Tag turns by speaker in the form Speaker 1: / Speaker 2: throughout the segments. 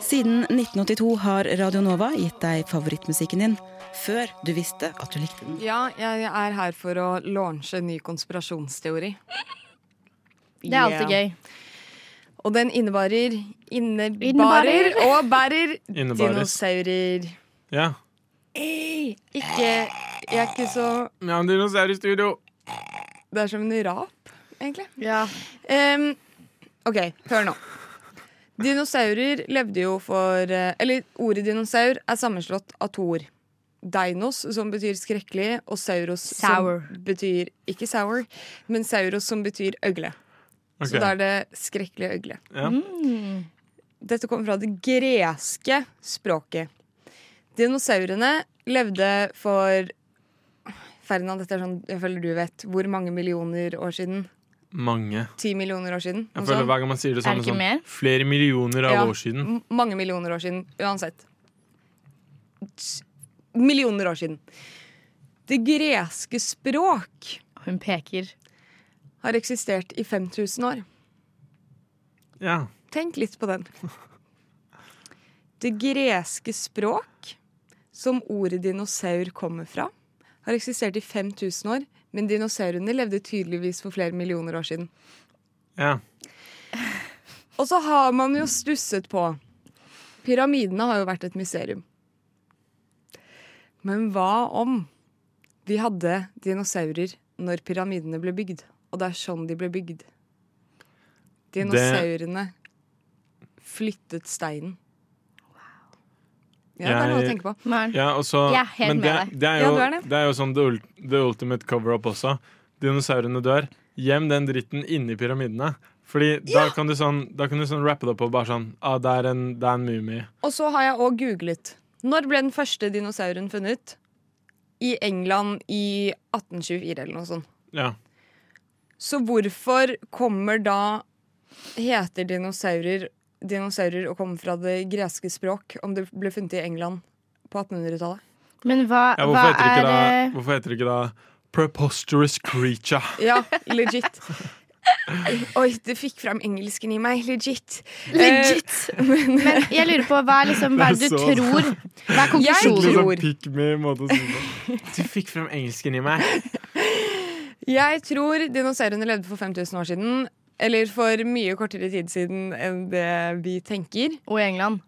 Speaker 1: Siden 1982 har Radio Nova gitt deg favorittmusikken din før du visste at du likte den.
Speaker 2: Ja, jeg er her for å launche en ny konspirasjonsteori.
Speaker 3: Det er alltid gøy.
Speaker 2: Og den innebærer Innebarer,
Speaker 3: Innebærer.
Speaker 2: og bærer
Speaker 4: Innebærer.
Speaker 2: dinosaurer.
Speaker 4: Ja.
Speaker 2: Ei, ikke Jeg er ikke så
Speaker 4: Vi har en dinosaur i studio.
Speaker 2: Det er som en rap, egentlig.
Speaker 3: Ja.
Speaker 2: Em, OK, hør nå. Dinosaurer levde jo for eh, Eller ordet dinosaur er sammenslått av to ord. Dinos, som betyr skrekkelig, og sauros,
Speaker 3: Sour.
Speaker 2: som betyr Ikke sour, men sauros, som betyr øgle.
Speaker 4: Ok.
Speaker 2: Så da er det skrekkelige øgle.
Speaker 4: Ja.
Speaker 2: Dette kommer fra det greske språket. Dinosaurene levde for Ferdinand, dette er sånn jeg føler du vet. Hvor mange millioner år siden?
Speaker 4: Mange.
Speaker 2: Ti millioner år siden?
Speaker 4: Jeg
Speaker 2: Noe
Speaker 4: føler
Speaker 2: sånt.
Speaker 4: Hver gang man sier det
Speaker 3: Er
Speaker 4: sånn,
Speaker 3: det ikke
Speaker 4: sånn
Speaker 3: mer?
Speaker 4: flere millioner av
Speaker 2: Ja.
Speaker 4: år siden.
Speaker 2: M- Mange millioner år siden. Uansett. S- Millioner år siden. Det greske språk
Speaker 3: Hun peker.
Speaker 2: har eksistert i 5000 år.
Speaker 4: Ja.
Speaker 2: Tenk litt på den. Det greske språk, som ordet dinosaur kommer fra, har eksistert i 5000 år, men dinosaurene levde tydeligvis for flere millioner år siden.
Speaker 4: ja.
Speaker 2: Og så har man jo stusset på Pyramidene har jo vært et mysterium. Men hva om vi hadde dinosaurer når pyramidene ble bygd? Og det er sånn de ble bygd. Dinosaurene flyttet steinen. Ja, det er noe å
Speaker 4: Jeg-
Speaker 2: tenke på.
Speaker 3: Maren.
Speaker 4: ja og så
Speaker 3: Jeg er helt
Speaker 4: Men det,
Speaker 3: med deg.
Speaker 4: det, er
Speaker 2: Ja,
Speaker 4: jo,
Speaker 2: du er det.
Speaker 4: det er jo sånn the, ul- the ultimate cover-up også. Dinosaurene dør. Gjem den dritten inni pyramidene. Fordi da kan du sånn Da kan du sånn rappe det opp og bare sånn ah, det, er en, det er en mumie.
Speaker 2: Og så har jeg òg googlet. Når ble den første dinosauren funnet? I England i 1824 eller noe sånt.
Speaker 4: Ja.
Speaker 2: Så hvorfor kommer da Heter dinosaurer dinosaurer og kommer fra det greske språk om det ble funnet i England på 1800-tallet?
Speaker 3: Men hva,
Speaker 4: ja
Speaker 3: hva
Speaker 4: hvorfor, heter det
Speaker 3: er
Speaker 4: ikke da,
Speaker 3: eh,
Speaker 4: hvorfor heter det ikke da Preposterous creature.
Speaker 2: Ja, legit. Oi, det fikk frem engelsken i meg. Legit.
Speaker 3: Legit!
Speaker 2: Eh, men
Speaker 3: Men jeg lurer på hva, er liksom, hva er det
Speaker 4: Det er
Speaker 3: du
Speaker 4: så-
Speaker 3: tror? Hva er
Speaker 2: Jeg
Speaker 4: Litt
Speaker 3: konklusjonen?
Speaker 2: tror-
Speaker 4: sånn pick me-måte å si det på. Du fikk frem engelsken i meg.
Speaker 2: jeg tror dinosaurene levde for 5000 år siden. Eller for mye kortere tid siden enn det vi tenker.
Speaker 3: Og i England.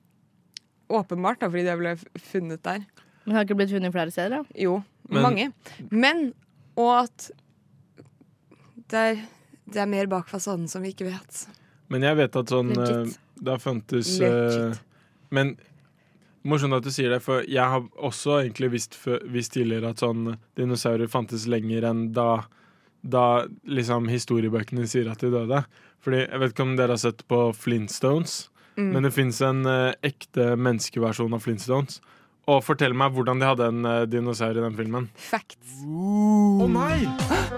Speaker 2: Åpenbart, da, fordi det ble f- funnet der.
Speaker 3: Men har ikke blitt funnet flere steder, da?
Speaker 2: Jo,
Speaker 4: Men-
Speaker 2: mange. Men og at det er, det er mer bak fasaden som vi ikke vet.
Speaker 4: Men jeg vet at sånn
Speaker 3: Legit.
Speaker 4: eh, Det har funtes
Speaker 2: Legit.
Speaker 4: eh, Men morsomt at du sier det, for jeg har også egentlig visst, fø- visst tidligere at sånn dinosaurer fantes lenger enn da, da liksom historiebøkene sier at de døde. Fordi Jeg vet ikke om dere har sett på Flintstones,
Speaker 3: Mm.
Speaker 4: men det fins en eh, ekte menneskeversjon av Flintstones. Og fortell meg hvordan de hadde en eh, dinosaur i den filmen.
Speaker 2: Facts.
Speaker 4: Å nei!
Speaker 5: eh,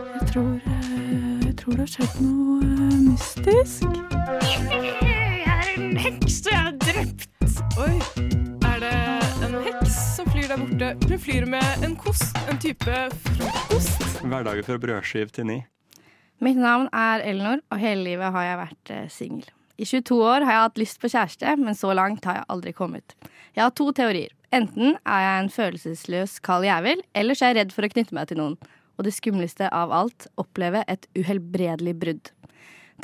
Speaker 5: Oi, er det en heks som flyr der borte? Hun flyr med en kost, en type frokost.
Speaker 6: Hverdager fra brødskive til ni.
Speaker 3: Mitt navn er Elinor, og hele livet har jeg vært eh, singel. I 22 år har jeg hatt lyst på kjæreste, men så langt har jeg aldri kommet. Jeg har to teorier. Enten er jeg en følelsesløs kald jævel, eller så er jeg redd for å knytte meg til noen. Og det skumleste av alt oppleve et uhelbredelig brudd.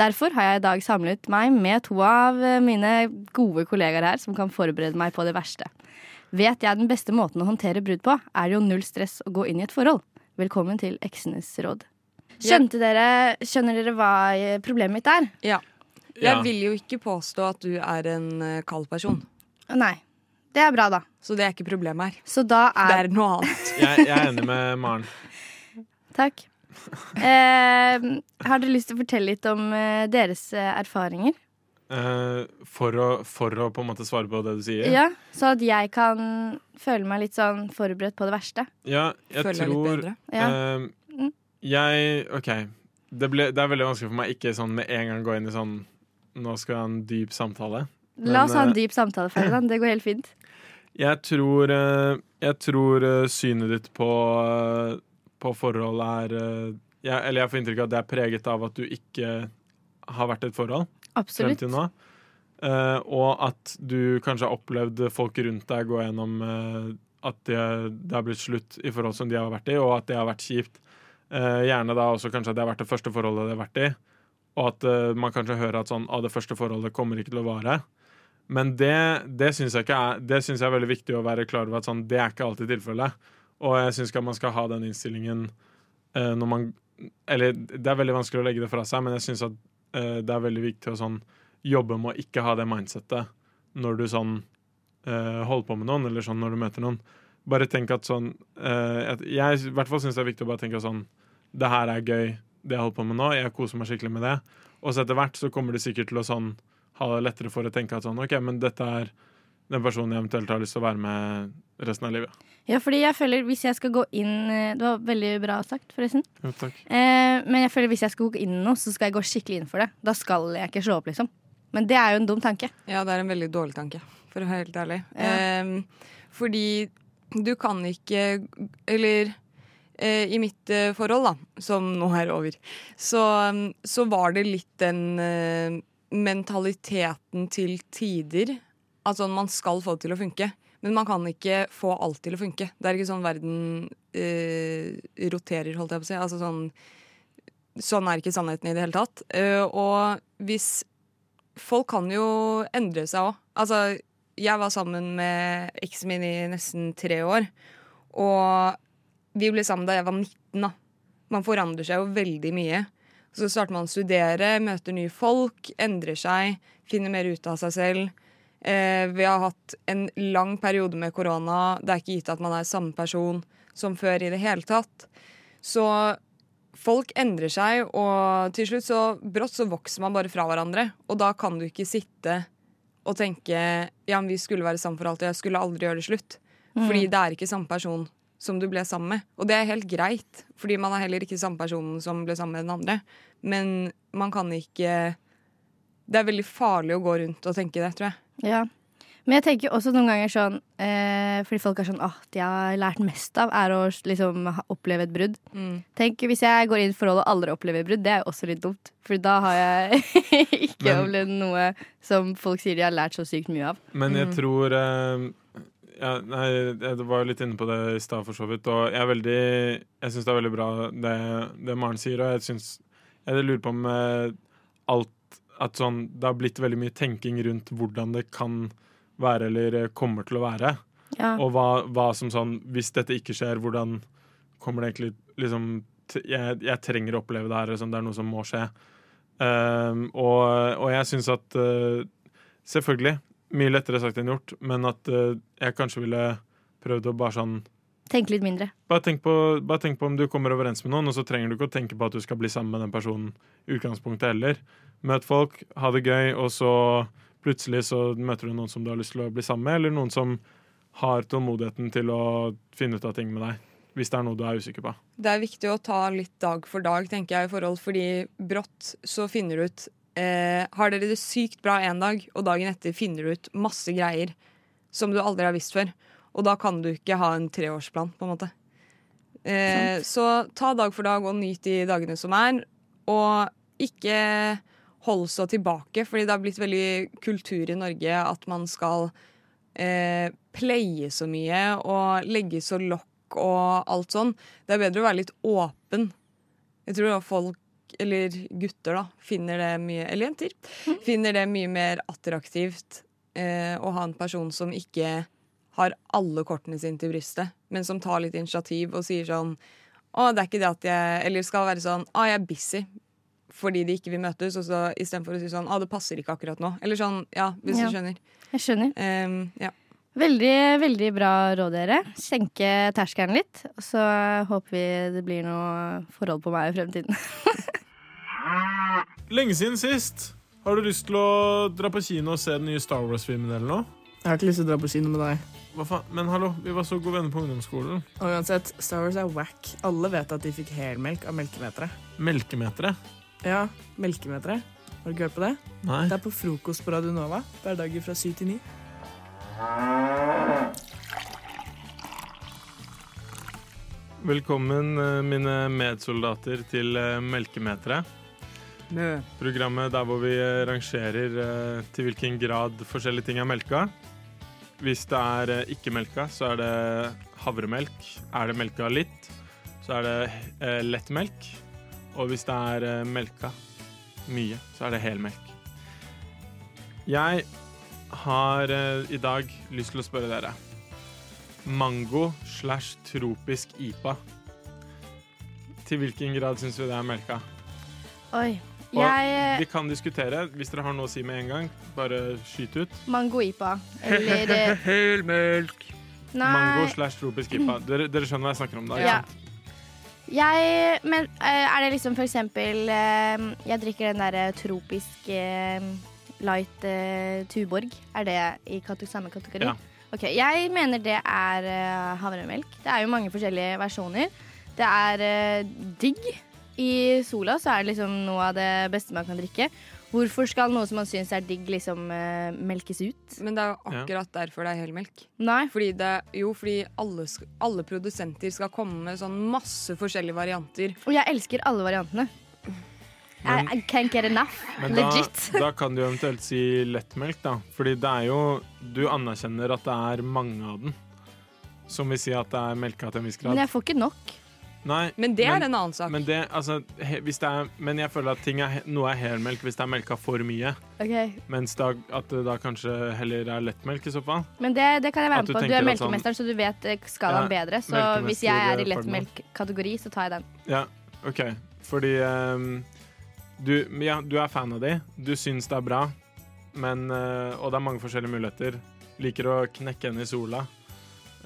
Speaker 3: Derfor har jeg i dag samlet meg med to av eh, mine gode kollegaer her, som kan forberede meg på det verste. Vet jeg den beste måten å håndtere brudd på, er det jo null stress å gå inn i et forhold. Velkommen til Eksenes råd. Skjønte dere, skjønner dere hva eh, problemet mitt er?
Speaker 2: Jeg
Speaker 4: Ja.
Speaker 2: vil jo ikke påstå at du er en eh, kald person,
Speaker 3: Å, Nei. Det er bra, da.
Speaker 2: så det er ikke problemet her.
Speaker 3: Så da
Speaker 2: Det
Speaker 3: er
Speaker 2: er noe annet.
Speaker 4: Jeg, jeg er enig med Maren.
Speaker 3: Takk. Eh,
Speaker 7: Ehm,
Speaker 3: har dere lyst til å fortelle litt om eh, deres eh, erfaringer?
Speaker 4: Eh, for, å, for å på en måte svare på det du sier.
Speaker 3: Ja, Så at jeg kan føle meg litt sånn forberedt på det verste.
Speaker 4: Ja, jeg
Speaker 2: Føler jeg litt
Speaker 4: tror
Speaker 2: bedre.
Speaker 3: Ja.
Speaker 4: eh,
Speaker 3: Mm.
Speaker 4: Jeg OK. Det, ble, det er veldig vanskelig for meg ikke sånn med en gang gå inn i sånn Nå skal jeg ha en dyp samtale.
Speaker 3: La
Speaker 4: Men,
Speaker 3: oss ha en
Speaker 4: eh,
Speaker 3: dyp samtale, Ferdinand. Det går helt fint.
Speaker 4: Jeg tror, eh, jeg tror eh, synet ditt på, eh, på forhold er eh, jeg, Eller jeg får inntrykk av at det er preget av at du ikke har vært i et forhold frem
Speaker 7: Absolutt.
Speaker 4: til nå. Eh, og at du kanskje har opplevd folk rundt deg gå gjennom eh, at det, det har blitt slutt i forhold som de har vært i, og at det har vært kjipt. Eh, gjerne da også kanskje at det har vært det første forholdet det har vært i, og at eh, man kanskje hører at sånn, ah, det første forholdet kommer ikke til å vare. Men det, det syns jeg, ikke er- det synes jeg er veldig viktig å være klar over at sånn, det er ikke alltid tilfellet. Og jeg syns ikke at man skal ha den innstillingen eh, når man Eller det er veldig vanskelig å legge det fra seg, men jeg syns at eh, det er veldig viktig å sånn jobbe med å ikke ha det mindsettet når du sånn eh, holder på med noen, eller sånn når du møter noen. Bare tenk at sånn eh, at Jeg i hvert fall syns det er viktig å bare tenke sånn Det her er gøy, det jeg holder på med nå. Jeg koser meg skikkelig med det. Og så etter hvert så kommer du sikkert til å sånn ha det lettere for å tenke at sånn OK, men dette er den personen jeg eventuelt har lyst til å være med resten av livet.
Speaker 7: Ja, fordi jeg føler hvis jeg skal gå inn eh, Det var veldig bra sagt, forresten.
Speaker 4: Jo, takk.
Speaker 7: Eh, men jeg føler hvis jeg skal gå inn i noe, så skal jeg gå skikkelig inn for det. Da skal jeg ikke slå opp, liksom. Men det er jo en dum tanke.
Speaker 2: Ja, det er en veldig dårlig tanke, for å være helt ærlig.
Speaker 7: Ja.
Speaker 2: Ehm, fordi du kan ikke Eller eh, i mitt eh, forhold, da, som nå er over, så, mm, så var det litt den eh, mentaliteten til tider at sånn man skal få det til å funke. Men man kan ikke få alt til å funke. Det er ikke sånn verden eh, roterer, holdt jeg på å si. Altså sånn, sånn er ikke sannheten i det hele tatt. Eh, og hvis folk kan jo endre seg òg. Altså, jeg var sammen med eksen min i nesten tre år. Og vi ble sammen da jeg var 19, da. Man forandrer seg jo veldig mye. Så starter man å studere, møter nye folk, endrer seg, finner mer ut av seg selv. Eh, vi har hatt en lang periode med korona. Det er ikke gitt at man er samme person som før i det hele tatt. Så folk endrer seg, og til slutt så brått så vokser man bare fra hverandre. Og da kan du ikke sitte og tenke ja, men vi skulle være sammen for alltid, jeg skulle aldri gjøre det slutt. Fordi det er ikke samme person som du ble sammen med. Og det er helt greit, fordi man er heller ikke samme personen som ble sammen med den andre. Men man kan ikke Det er veldig farlig å gå rundt og tenke det, tror jeg.
Speaker 7: Ja. Men jeg tenker også noen ganger sånn eh, Fordi folk er sånn Åh, det jeg har lært mest av, er å liksom ha- oppleve et brudd. Tenk hvis jeg går inn i et forhold og aldri opplever brudd. Det er jo også litt dumt. For da har jeg ikke
Speaker 4: Men-
Speaker 7: opplevd noe som folk sier de har lært så sykt mye av.
Speaker 4: Men
Speaker 3: Mm.
Speaker 4: jeg tror eh, ja, Nei, jeg var jo litt inne på det i stad, for så vidt. Og jeg er veldig Jeg syns det er veldig bra det, det Maren sier, og jeg syns Jeg lurer på om eh, alt At sånn Det har blitt veldig mye tenking rundt hvordan det kan være eller eh, kommer til å være.
Speaker 7: Ja.
Speaker 4: Og hva, hva som sånn Hvis dette ikke skjer, hvordan kommer det egentlig liksom t- jeg, jeg trenger å oppleve det her, liksom, det er noe som må skje. Ehm, og, og jeg syns at eh, Selvfølgelig. Mye lettere sagt enn gjort, men at eh, jeg kanskje ville prøvd å bare sånn
Speaker 7: Tenk litt mindre.
Speaker 4: bare tenk, på, bare tenk på om du kommer overens med noen, og så trenger du ikke å tenke på at du skal bli sammen med den personen i utgangspunktet heller. Møt folk, ha det gøy, og så plutselig så møter du noen som du har lyst til å bli sammen med, eller noen som har tålmodigheten til å finne ut av ting med deg, hvis det er noe du er usikker på.
Speaker 2: Det er viktig å ta litt dag for dag, tenker jeg, i forhold, fordi brått så finner du ut eh, Har dere det sykt bra en dag, og dagen etter finner du ut masse greier som du aldri har visst før. Og da kan du ikke ha en treårsplan, på en måte. Eh, så ta dag for dag og nyt de dagene som er, og ikke hold så tilbake, fordi det har blitt veldig kultur i Norge at man skal eh, pleie så mye og legge så lokk og alt sånn. Det er bedre å være litt åpen. Jeg tror da folk, eller gutter, da, finner det mye Eller jenter. Finner det mye mer attraktivt eh, å ha en person som ikke har alle kortene sine til brystet, men som tar litt initiativ og sier sånn Å, det er ikke det at jeg Eller skal være sånn Å, jeg er busy. Fordi de ikke vil møtes, og så istedenfor å si sånn Å, det passer ikke akkurat nå. Eller sånn, ja, hvis
Speaker 7: Ja.
Speaker 2: du skjønner.
Speaker 7: Jeg skjønner.
Speaker 2: Ehm, ja.
Speaker 7: Veldig, veldig bra råd, dere. Senke terskelen litt. Og så håper vi det blir noe forhold på meg i fremtiden.
Speaker 4: Lenge siden sist. Har du lyst til å dra på kino og se den nye Star Wars-filmen eller noe?
Speaker 1: Jeg har ikke lyst til å dra på kino med deg.
Speaker 4: Hva faen? Men hallo, vi var så gode venner på ungdomsskolen.
Speaker 1: Og uansett, Star Wars er wack. Alle vet at de fikk helmelk av melkemetere.
Speaker 4: Melkemetere?
Speaker 1: Ja, melkemetere. Har du ikke hørt på det?
Speaker 4: Nei.
Speaker 1: Det er på frokost på Radio Nova. Hverdager fra syv til ni.
Speaker 4: Velkommen, eh, mine medsoldater, til eh, Melkemeteret.
Speaker 2: Mø.
Speaker 4: Programmet der hvor vi eh, rangerer eh, til hvilken grad forskjellige ting er melka. Hvis det er eh, ikke melka, så er det havremelk. Er det melka litt, så er det eh, lettmelk. Og hvis det er eh, melka mye, så er det helmelk. Jeg har eh, i dag lyst til å spørre dere. Mango slash tropisk IPA. Til hvilken grad syns vi det er melka?
Speaker 3: Oi.
Speaker 4: Og
Speaker 3: Jeg eh,
Speaker 4: Vi kan diskutere. Hvis dere har noe å si med en gang, bare skyt ut.
Speaker 3: Mango-ipa. Eller eh,
Speaker 4: Helmelk! Mango
Speaker 3: Nei.
Speaker 4: slash tropisk ipa. Dere, dere skjønner hva jeg snakker om da? ikke
Speaker 3: Ja.
Speaker 4: sant?
Speaker 3: Jeg Men eh, er det liksom for eksempel eh, Jeg drikker den derre tropisk eh, light eh, Tuborg. Er det i kate- samme kategori?
Speaker 4: Ja.
Speaker 3: Ok, Jeg mener det er eh, havremelk. Det er jo mange forskjellige versjoner. Det er eh, digg. I sola så er det liksom noe av det beste man kan drikke. Hvorfor skal noe som man syns er digg, liksom eh, melkes ut?
Speaker 2: Men det er jo akkurat derfor det er helmelk.
Speaker 3: Nei.
Speaker 2: Fordi det, jo, fordi alle, sk- alle produsenter skal komme med sånn masse forskjellige varianter.
Speaker 3: Og jeg elsker alle variantene. Eh,
Speaker 4: Men-
Speaker 3: I, I can't get enough.
Speaker 4: Men da,
Speaker 3: Legit.
Speaker 4: da kan du eventuelt si lettmelk, da. Fordi det er jo Du anerkjenner at det er mange av den. Som vil si at det er melka til en viss grad.
Speaker 3: Men jeg får ikke nok.
Speaker 4: Nei,
Speaker 2: Men det
Speaker 4: men-
Speaker 2: er en annen sak.
Speaker 4: men det, altså, he, hvis det er, men jeg føler at ting er, he- noe er helmelk hvis det er melka for mye. Mens da, at det da kanskje heller er lettmelk i så fall.
Speaker 3: Men det, det kan jeg
Speaker 4: At
Speaker 3: være med på.
Speaker 4: du
Speaker 3: Du
Speaker 4: tenker
Speaker 3: er
Speaker 4: at
Speaker 3: melkemesteren, så du vet eh, skalaen
Speaker 4: Ja,
Speaker 3: bedre. Så
Speaker 4: melkemester,
Speaker 3: hvis jeg er i
Speaker 4: eh,
Speaker 3: lettmelk-kategori, så tar jeg den.
Speaker 4: Ja, ok. Fordi ehm, du, men ja, du er fan av de, du syns det er bra, men, eh, og det er mange forskjellige muligheter. Liker å knekke henne i sola.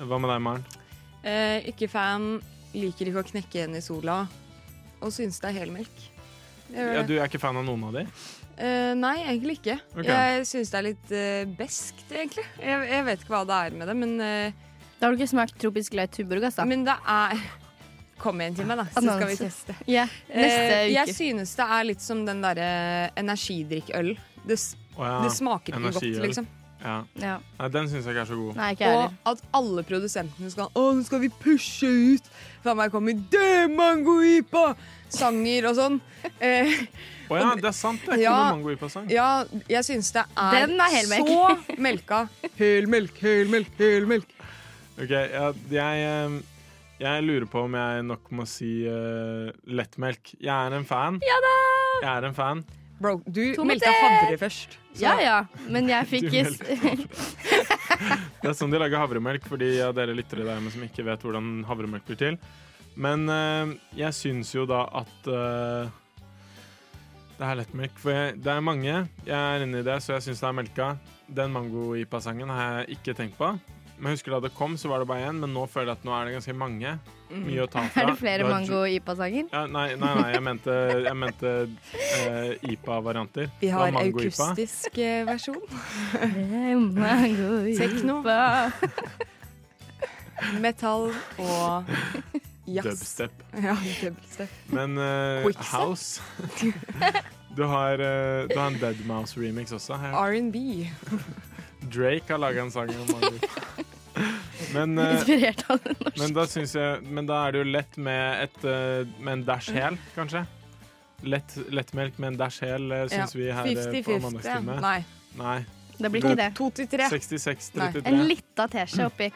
Speaker 4: Hva med deg, Maren?
Speaker 2: Eh, ikke fan, liker ikke å knekke igjen i sola. Og syns det er helmelk. Jeg gjør
Speaker 4: Ja,
Speaker 2: det.
Speaker 4: du er ikke fan av noen av de?
Speaker 2: Eh, nei, egentlig ikke.
Speaker 4: Ok.
Speaker 2: Jeg syns det er litt eh, beskt, egentlig. Jeg, jeg vet ikke hva det er med det, men, eh,
Speaker 3: Da har du ikke smakt tropisk light tuborg, altså.
Speaker 2: men det er Kom igjen til meg, da, så skal vi
Speaker 3: Annonse.
Speaker 2: teste.
Speaker 3: Ja, neste
Speaker 2: Eh, jeg
Speaker 3: uke.
Speaker 2: synes det er litt som den derre energidrikkøl. Det, s-
Speaker 4: Å, ja.
Speaker 2: det smaker ikke godt,
Speaker 4: Energiøl.
Speaker 2: liksom.
Speaker 4: ja.
Speaker 3: Ja.
Speaker 4: Nei, den syns jeg ikke er så god.
Speaker 3: Nei, ikke jeg
Speaker 2: Og
Speaker 3: heller.
Speaker 2: at alle produsentene skal Å, nå skal vi pushe ut! Faen meg kommer det mangoipa! Sanger og sånn. Eh,
Speaker 4: Å ja, det er sant! Det er ikke
Speaker 2: Ja.
Speaker 4: noe mango ipa sang
Speaker 2: ja, jeg synes det er,
Speaker 3: Den er helmelk.
Speaker 2: så melka. Helmelk, helmelk, helmelk.
Speaker 4: Ok, ja, jeg, ehm, jeg lurer på om jeg nok må si eh, lettmelk. Jeg er en fan. Ja da! Jeg er en fan.
Speaker 2: Bro, du
Speaker 3: Tomater!
Speaker 2: meldte havre først.
Speaker 3: Ja ja, men jeg fikk
Speaker 4: Du
Speaker 3: s-
Speaker 4: Det er sånn de lager havremelk, fordi ja, dere lyttere der hjemme som ikke vet hvordan havremelk blir til. Men eh, jeg syns jo da at eh, det er lettmelk. For jeg, det er mange. Jeg er inne i det, så jeg syns det er melka. Den mango-ipa-sangen har jeg ikke tenkt på. Men jeg husker Da det kom, så var det bare én, men nå føler jeg at nå er det ganske mange. Mye å ta fra.
Speaker 3: Mm. Er det flere
Speaker 4: Du har
Speaker 3: mango-ipa-sanger?
Speaker 4: Ja, nei, nei, nei, jeg mente, jeg mente eh, IPA-varianter.
Speaker 2: Vi
Speaker 4: Det var
Speaker 2: har
Speaker 4: mango-ipa.
Speaker 2: akustisk eh, versjon. Tekno.
Speaker 3: Mango-ipa.
Speaker 2: Metall og jazz.
Speaker 4: Dubstep.
Speaker 2: Ja, dubstep.
Speaker 4: Men eh,
Speaker 2: Quickstep.
Speaker 4: House du, har, eh, du har en Dead Mouse remix også. Her.
Speaker 2: R&B.
Speaker 4: Drake har laga en sang om Maldiv. Men, eh,
Speaker 3: Inspirert av den norske.
Speaker 4: men da syns jeg Men da er det jo lett med, et, eh, med en dash hel, kanskje. Lett, lettmelk med en dash hel eh, syns vi her eh, på
Speaker 2: 50-50.
Speaker 4: mandagstime.
Speaker 2: Nei.
Speaker 4: Nei.
Speaker 3: Det blir ikke det.
Speaker 2: To til tre.
Speaker 4: 66-33.
Speaker 3: En lita teskje oppi.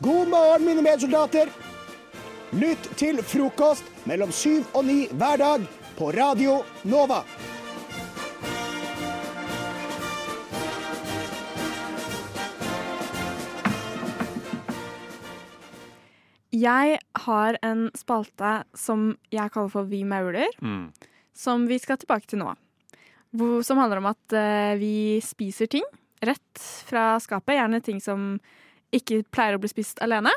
Speaker 8: God morgen, mine medsoldater. Lytt til frokost mellom syv og ni hver dag på Radio Nova.
Speaker 5: Jeg har en spalte som jeg kaller for Vi mauler,
Speaker 9: Mm.
Speaker 5: som vi skal tilbake til nå. Hvor, som handler om at eh, vi spiser ting rett fra skapet, gjerne ting som ikke pleier å bli spist alene.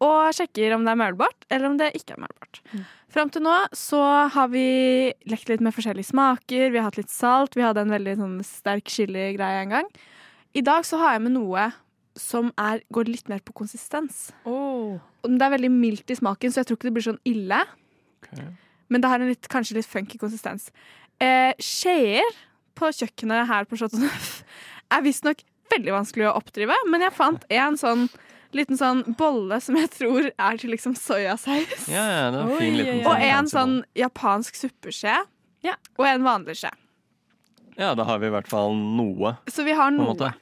Speaker 5: Og sjekker om det er maulbart, eller om det ikke er maulbart. Fram til nå så har vi lekt litt med forskjellige smaker, vi har hatt litt salt, vi hadde en veldig sånn sterk chili-greie en gang. I dag så har jeg med noe som er, går litt mer på konsistens. Og Det er veldig mildt i smaken, så jeg tror ikke det blir sånn ille. men det har en litt, kanskje litt funky konsistens. Eh, Skjeer på kjøkkenet her på Chateau Neuf er visstnok veldig vanskelig å oppdrive, men jeg fant en sånn liten sånn bolle som jeg tror er til liksom soyasaus.
Speaker 6: Ja, ja, det var en fin
Speaker 10: Oi,
Speaker 6: liten
Speaker 10: oi, oi.
Speaker 5: Og en
Speaker 6: fancy bowl.
Speaker 5: sånn japansk suppeskje.
Speaker 7: Ja.
Speaker 5: Og en vanlig skje.
Speaker 6: Ja, da har vi i hvert fall noe,
Speaker 5: Så vi har
Speaker 6: på en
Speaker 5: noe.
Speaker 6: måte.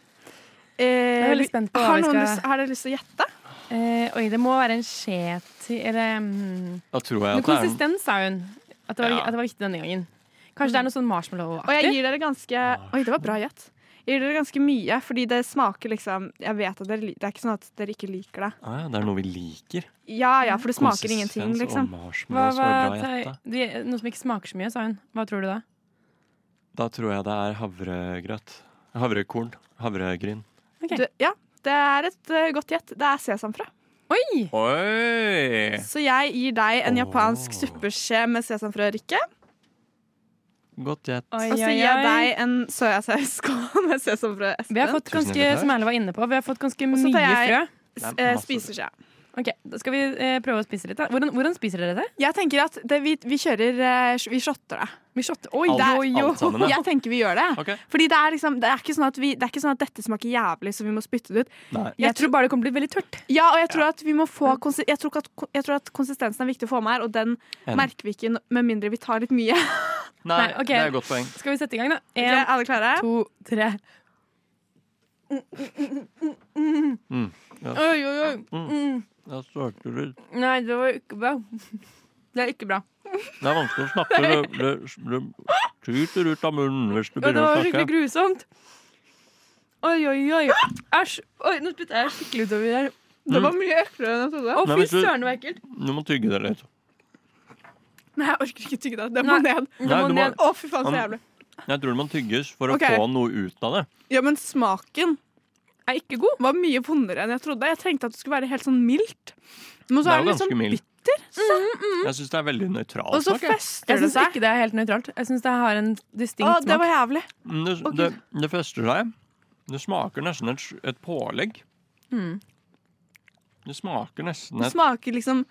Speaker 5: Eh,
Speaker 11: Jeg er
Speaker 5: vi-
Speaker 11: veldig spent på hva
Speaker 5: har,
Speaker 11: vi
Speaker 5: noen
Speaker 11: skal-
Speaker 5: lyst, har dere lyst til å gjette?
Speaker 11: Eh, oi, det må være en skje til Eller mm,
Speaker 6: Da tror jeg
Speaker 11: Men
Speaker 6: at det er
Speaker 11: konsistens, sa hun. At det, var,
Speaker 6: Ja.
Speaker 11: at det var viktig denne gangen. Kanskje det er noe sånn
Speaker 5: Og jeg
Speaker 11: marshmallow-aktig?
Speaker 5: gir dere ganske
Speaker 6: Ah.
Speaker 5: Oi, det var bra gjett. Jeg gir dere ganske mye, fordi det smaker liksom Jeg vet at dere li- Det er ikke sånn at dere ikke liker det.
Speaker 6: ah, ja, Det er noe vi liker.
Speaker 5: Ja ja, for det smaker ingenting,
Speaker 6: Konsistens
Speaker 5: liksom.
Speaker 6: og
Speaker 11: Hva,
Speaker 6: marshmallows
Speaker 11: hva,
Speaker 6: var bra
Speaker 11: tar-
Speaker 6: gjetta.
Speaker 11: de, noe som ikke smaker så mye, sa hun. Hva tror du da?
Speaker 6: Da tror jeg det er havregrøt. Havrekorn. Havregryn.
Speaker 11: Ok.
Speaker 5: Du, ja, det er et eh, godt gjett. Det er sesamfrø.
Speaker 11: Oi!
Speaker 6: Oi!
Speaker 5: Så jeg gir deg en japansk
Speaker 6: Åh.
Speaker 5: suppeskje med sesamfrø, Rikke.
Speaker 6: Godt gjett.
Speaker 11: Oi,
Speaker 5: Og så
Speaker 11: oi,
Speaker 5: gir jeg
Speaker 11: oi.
Speaker 5: deg en soyasausskål med sesamfrø,
Speaker 11: Vi har
Speaker 5: sånn Espen.
Speaker 11: fått ganske,
Speaker 6: hjertelig takk.
Speaker 11: som Erle var inne på, vi har fått ganske
Speaker 5: Og så
Speaker 11: mye
Speaker 5: tar jeg-
Speaker 11: frø.
Speaker 5: S-
Speaker 6: Det er
Speaker 5: eh,
Speaker 6: masse-
Speaker 5: Spiseskje.
Speaker 11: Ok, Da skal vi eh, prøve å spise litt. da Hvordan, hvordan spiser dere det?
Speaker 5: Jeg tenker at det, vi, vi kjører eh, Vi shotter det.
Speaker 11: Vi shotter. Oi,
Speaker 6: Alt-
Speaker 11: der-
Speaker 6: alt sammen, ja.
Speaker 5: Jeg tenker vi gjør det.
Speaker 6: Ok.
Speaker 5: Fordi det er, liksom, det, er ikke sånn at vi, det er ikke sånn at dette smaker jævlig, så vi må spytte det ut.
Speaker 6: Nei.
Speaker 11: Jeg tror bare det kommer til å bli veldig tørt.
Speaker 5: Ja, og jeg tror at vi må få konsi- jeg tror, ikke at, jeg tror at konsistensen er viktig å få med her, og den
Speaker 6: Enig.
Speaker 5: merker vi ikke no- med mindre vi tar litt mye.
Speaker 6: Nei,
Speaker 11: Nei, ok.
Speaker 6: det er et godt poeng.
Speaker 11: Skal vi sette i gang, da?
Speaker 5: Ok,
Speaker 11: En,
Speaker 5: alle klare?
Speaker 11: to, tre.
Speaker 6: Mm. Ja.
Speaker 11: Oi, oi, oi.
Speaker 6: Da starter du
Speaker 11: Nei, det var ikke bra. Det er ikke bra.
Speaker 6: Det er vanskelig å snakke. Det, det, det tyter ut av munnen hvis du
Speaker 11: Ja, det
Speaker 6: begynner
Speaker 11: var
Speaker 6: å
Speaker 11: skikkelig
Speaker 6: snakke.
Speaker 11: grusomt. Oi, oi, oi. Æsj. Oi, nå spytta jeg skikkelig utover der.
Speaker 5: Det var mye øklere enn jeg trodde.
Speaker 11: Å,
Speaker 6: Mm. Nei,
Speaker 11: fy
Speaker 6: men så-
Speaker 11: søren, det var ekkelt.
Speaker 6: Du må tygge det litt.
Speaker 5: Nei, jeg orker ikke tygge det. Det må
Speaker 11: Nei.
Speaker 5: ned.
Speaker 6: Nei, du må,
Speaker 5: Å, fy faen, så
Speaker 6: Ja,
Speaker 5: jævlig.
Speaker 6: jeg tror det må tygges for å
Speaker 5: Ok.
Speaker 6: få noe ut av det.
Speaker 5: Ja, men smaken er ikke god. Var mye vondere enn jeg trodde. Jeg tenkte at det skulle være helt sånn mildt. Men
Speaker 6: Det
Speaker 5: så
Speaker 6: er
Speaker 5: er
Speaker 6: jo
Speaker 5: det litt
Speaker 6: ganske
Speaker 5: sånn
Speaker 6: mild.
Speaker 5: bitt-
Speaker 11: Mm,
Speaker 6: Jeg syns det er veldig
Speaker 5: Og
Speaker 6: nøytralt.
Speaker 5: så
Speaker 6: smak, jeg.
Speaker 5: fester
Speaker 11: Jeg
Speaker 5: det
Speaker 11: syns
Speaker 5: seg.
Speaker 11: ikke det er helt nøytralt. Jeg syns det har en
Speaker 5: Å,
Speaker 11: distinkt
Speaker 5: det
Speaker 11: smak.
Speaker 5: var jævlig.
Speaker 6: Mm, Det,
Speaker 5: Ok.
Speaker 6: det, det fester seg. Det smaker nesten et, et pålegg.
Speaker 11: Mm.
Speaker 6: Det smaker nesten
Speaker 5: Det
Speaker 6: et
Speaker 5: smaker liksom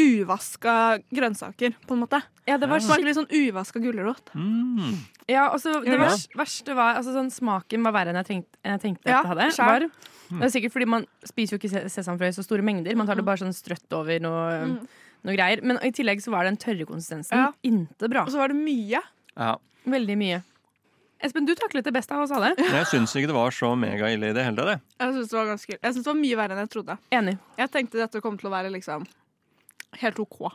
Speaker 5: uvaska grønnsaker, på en måte.
Speaker 11: Ja, det var
Speaker 5: Det smaker
Speaker 11: skikkelig
Speaker 5: litt sånn uvaska gulrot.
Speaker 6: mm.
Speaker 11: Ja, og så det
Speaker 6: Ja.
Speaker 11: vers, verste var altså sånn Smaken var verre enn jeg tenkte, enn jeg tenkte
Speaker 5: Ja,
Speaker 11: at det hadde.
Speaker 5: skjær.
Speaker 11: Var. Det er sikkert fordi man spiser jo ikke se- sesamfrø i så store mengder. Man tar det bare sånn strøtt over noe,
Speaker 5: Mm.
Speaker 11: noe greier. Men i tillegg så var den tørre konsistensen
Speaker 5: Ja.
Speaker 11: inte bra.
Speaker 5: Og så var det mye.
Speaker 6: Ja.
Speaker 11: Veldig mye. Espen, du taklet det best av oss alle.
Speaker 6: Jeg syns ikke det var så megaille i det hele tatt. jeg.
Speaker 5: Jeg syns det var ganske Jeg synes det var mye verre enn jeg trodde.
Speaker 11: Enig.
Speaker 5: Jeg tenkte dette kom til å være liksom helt OK.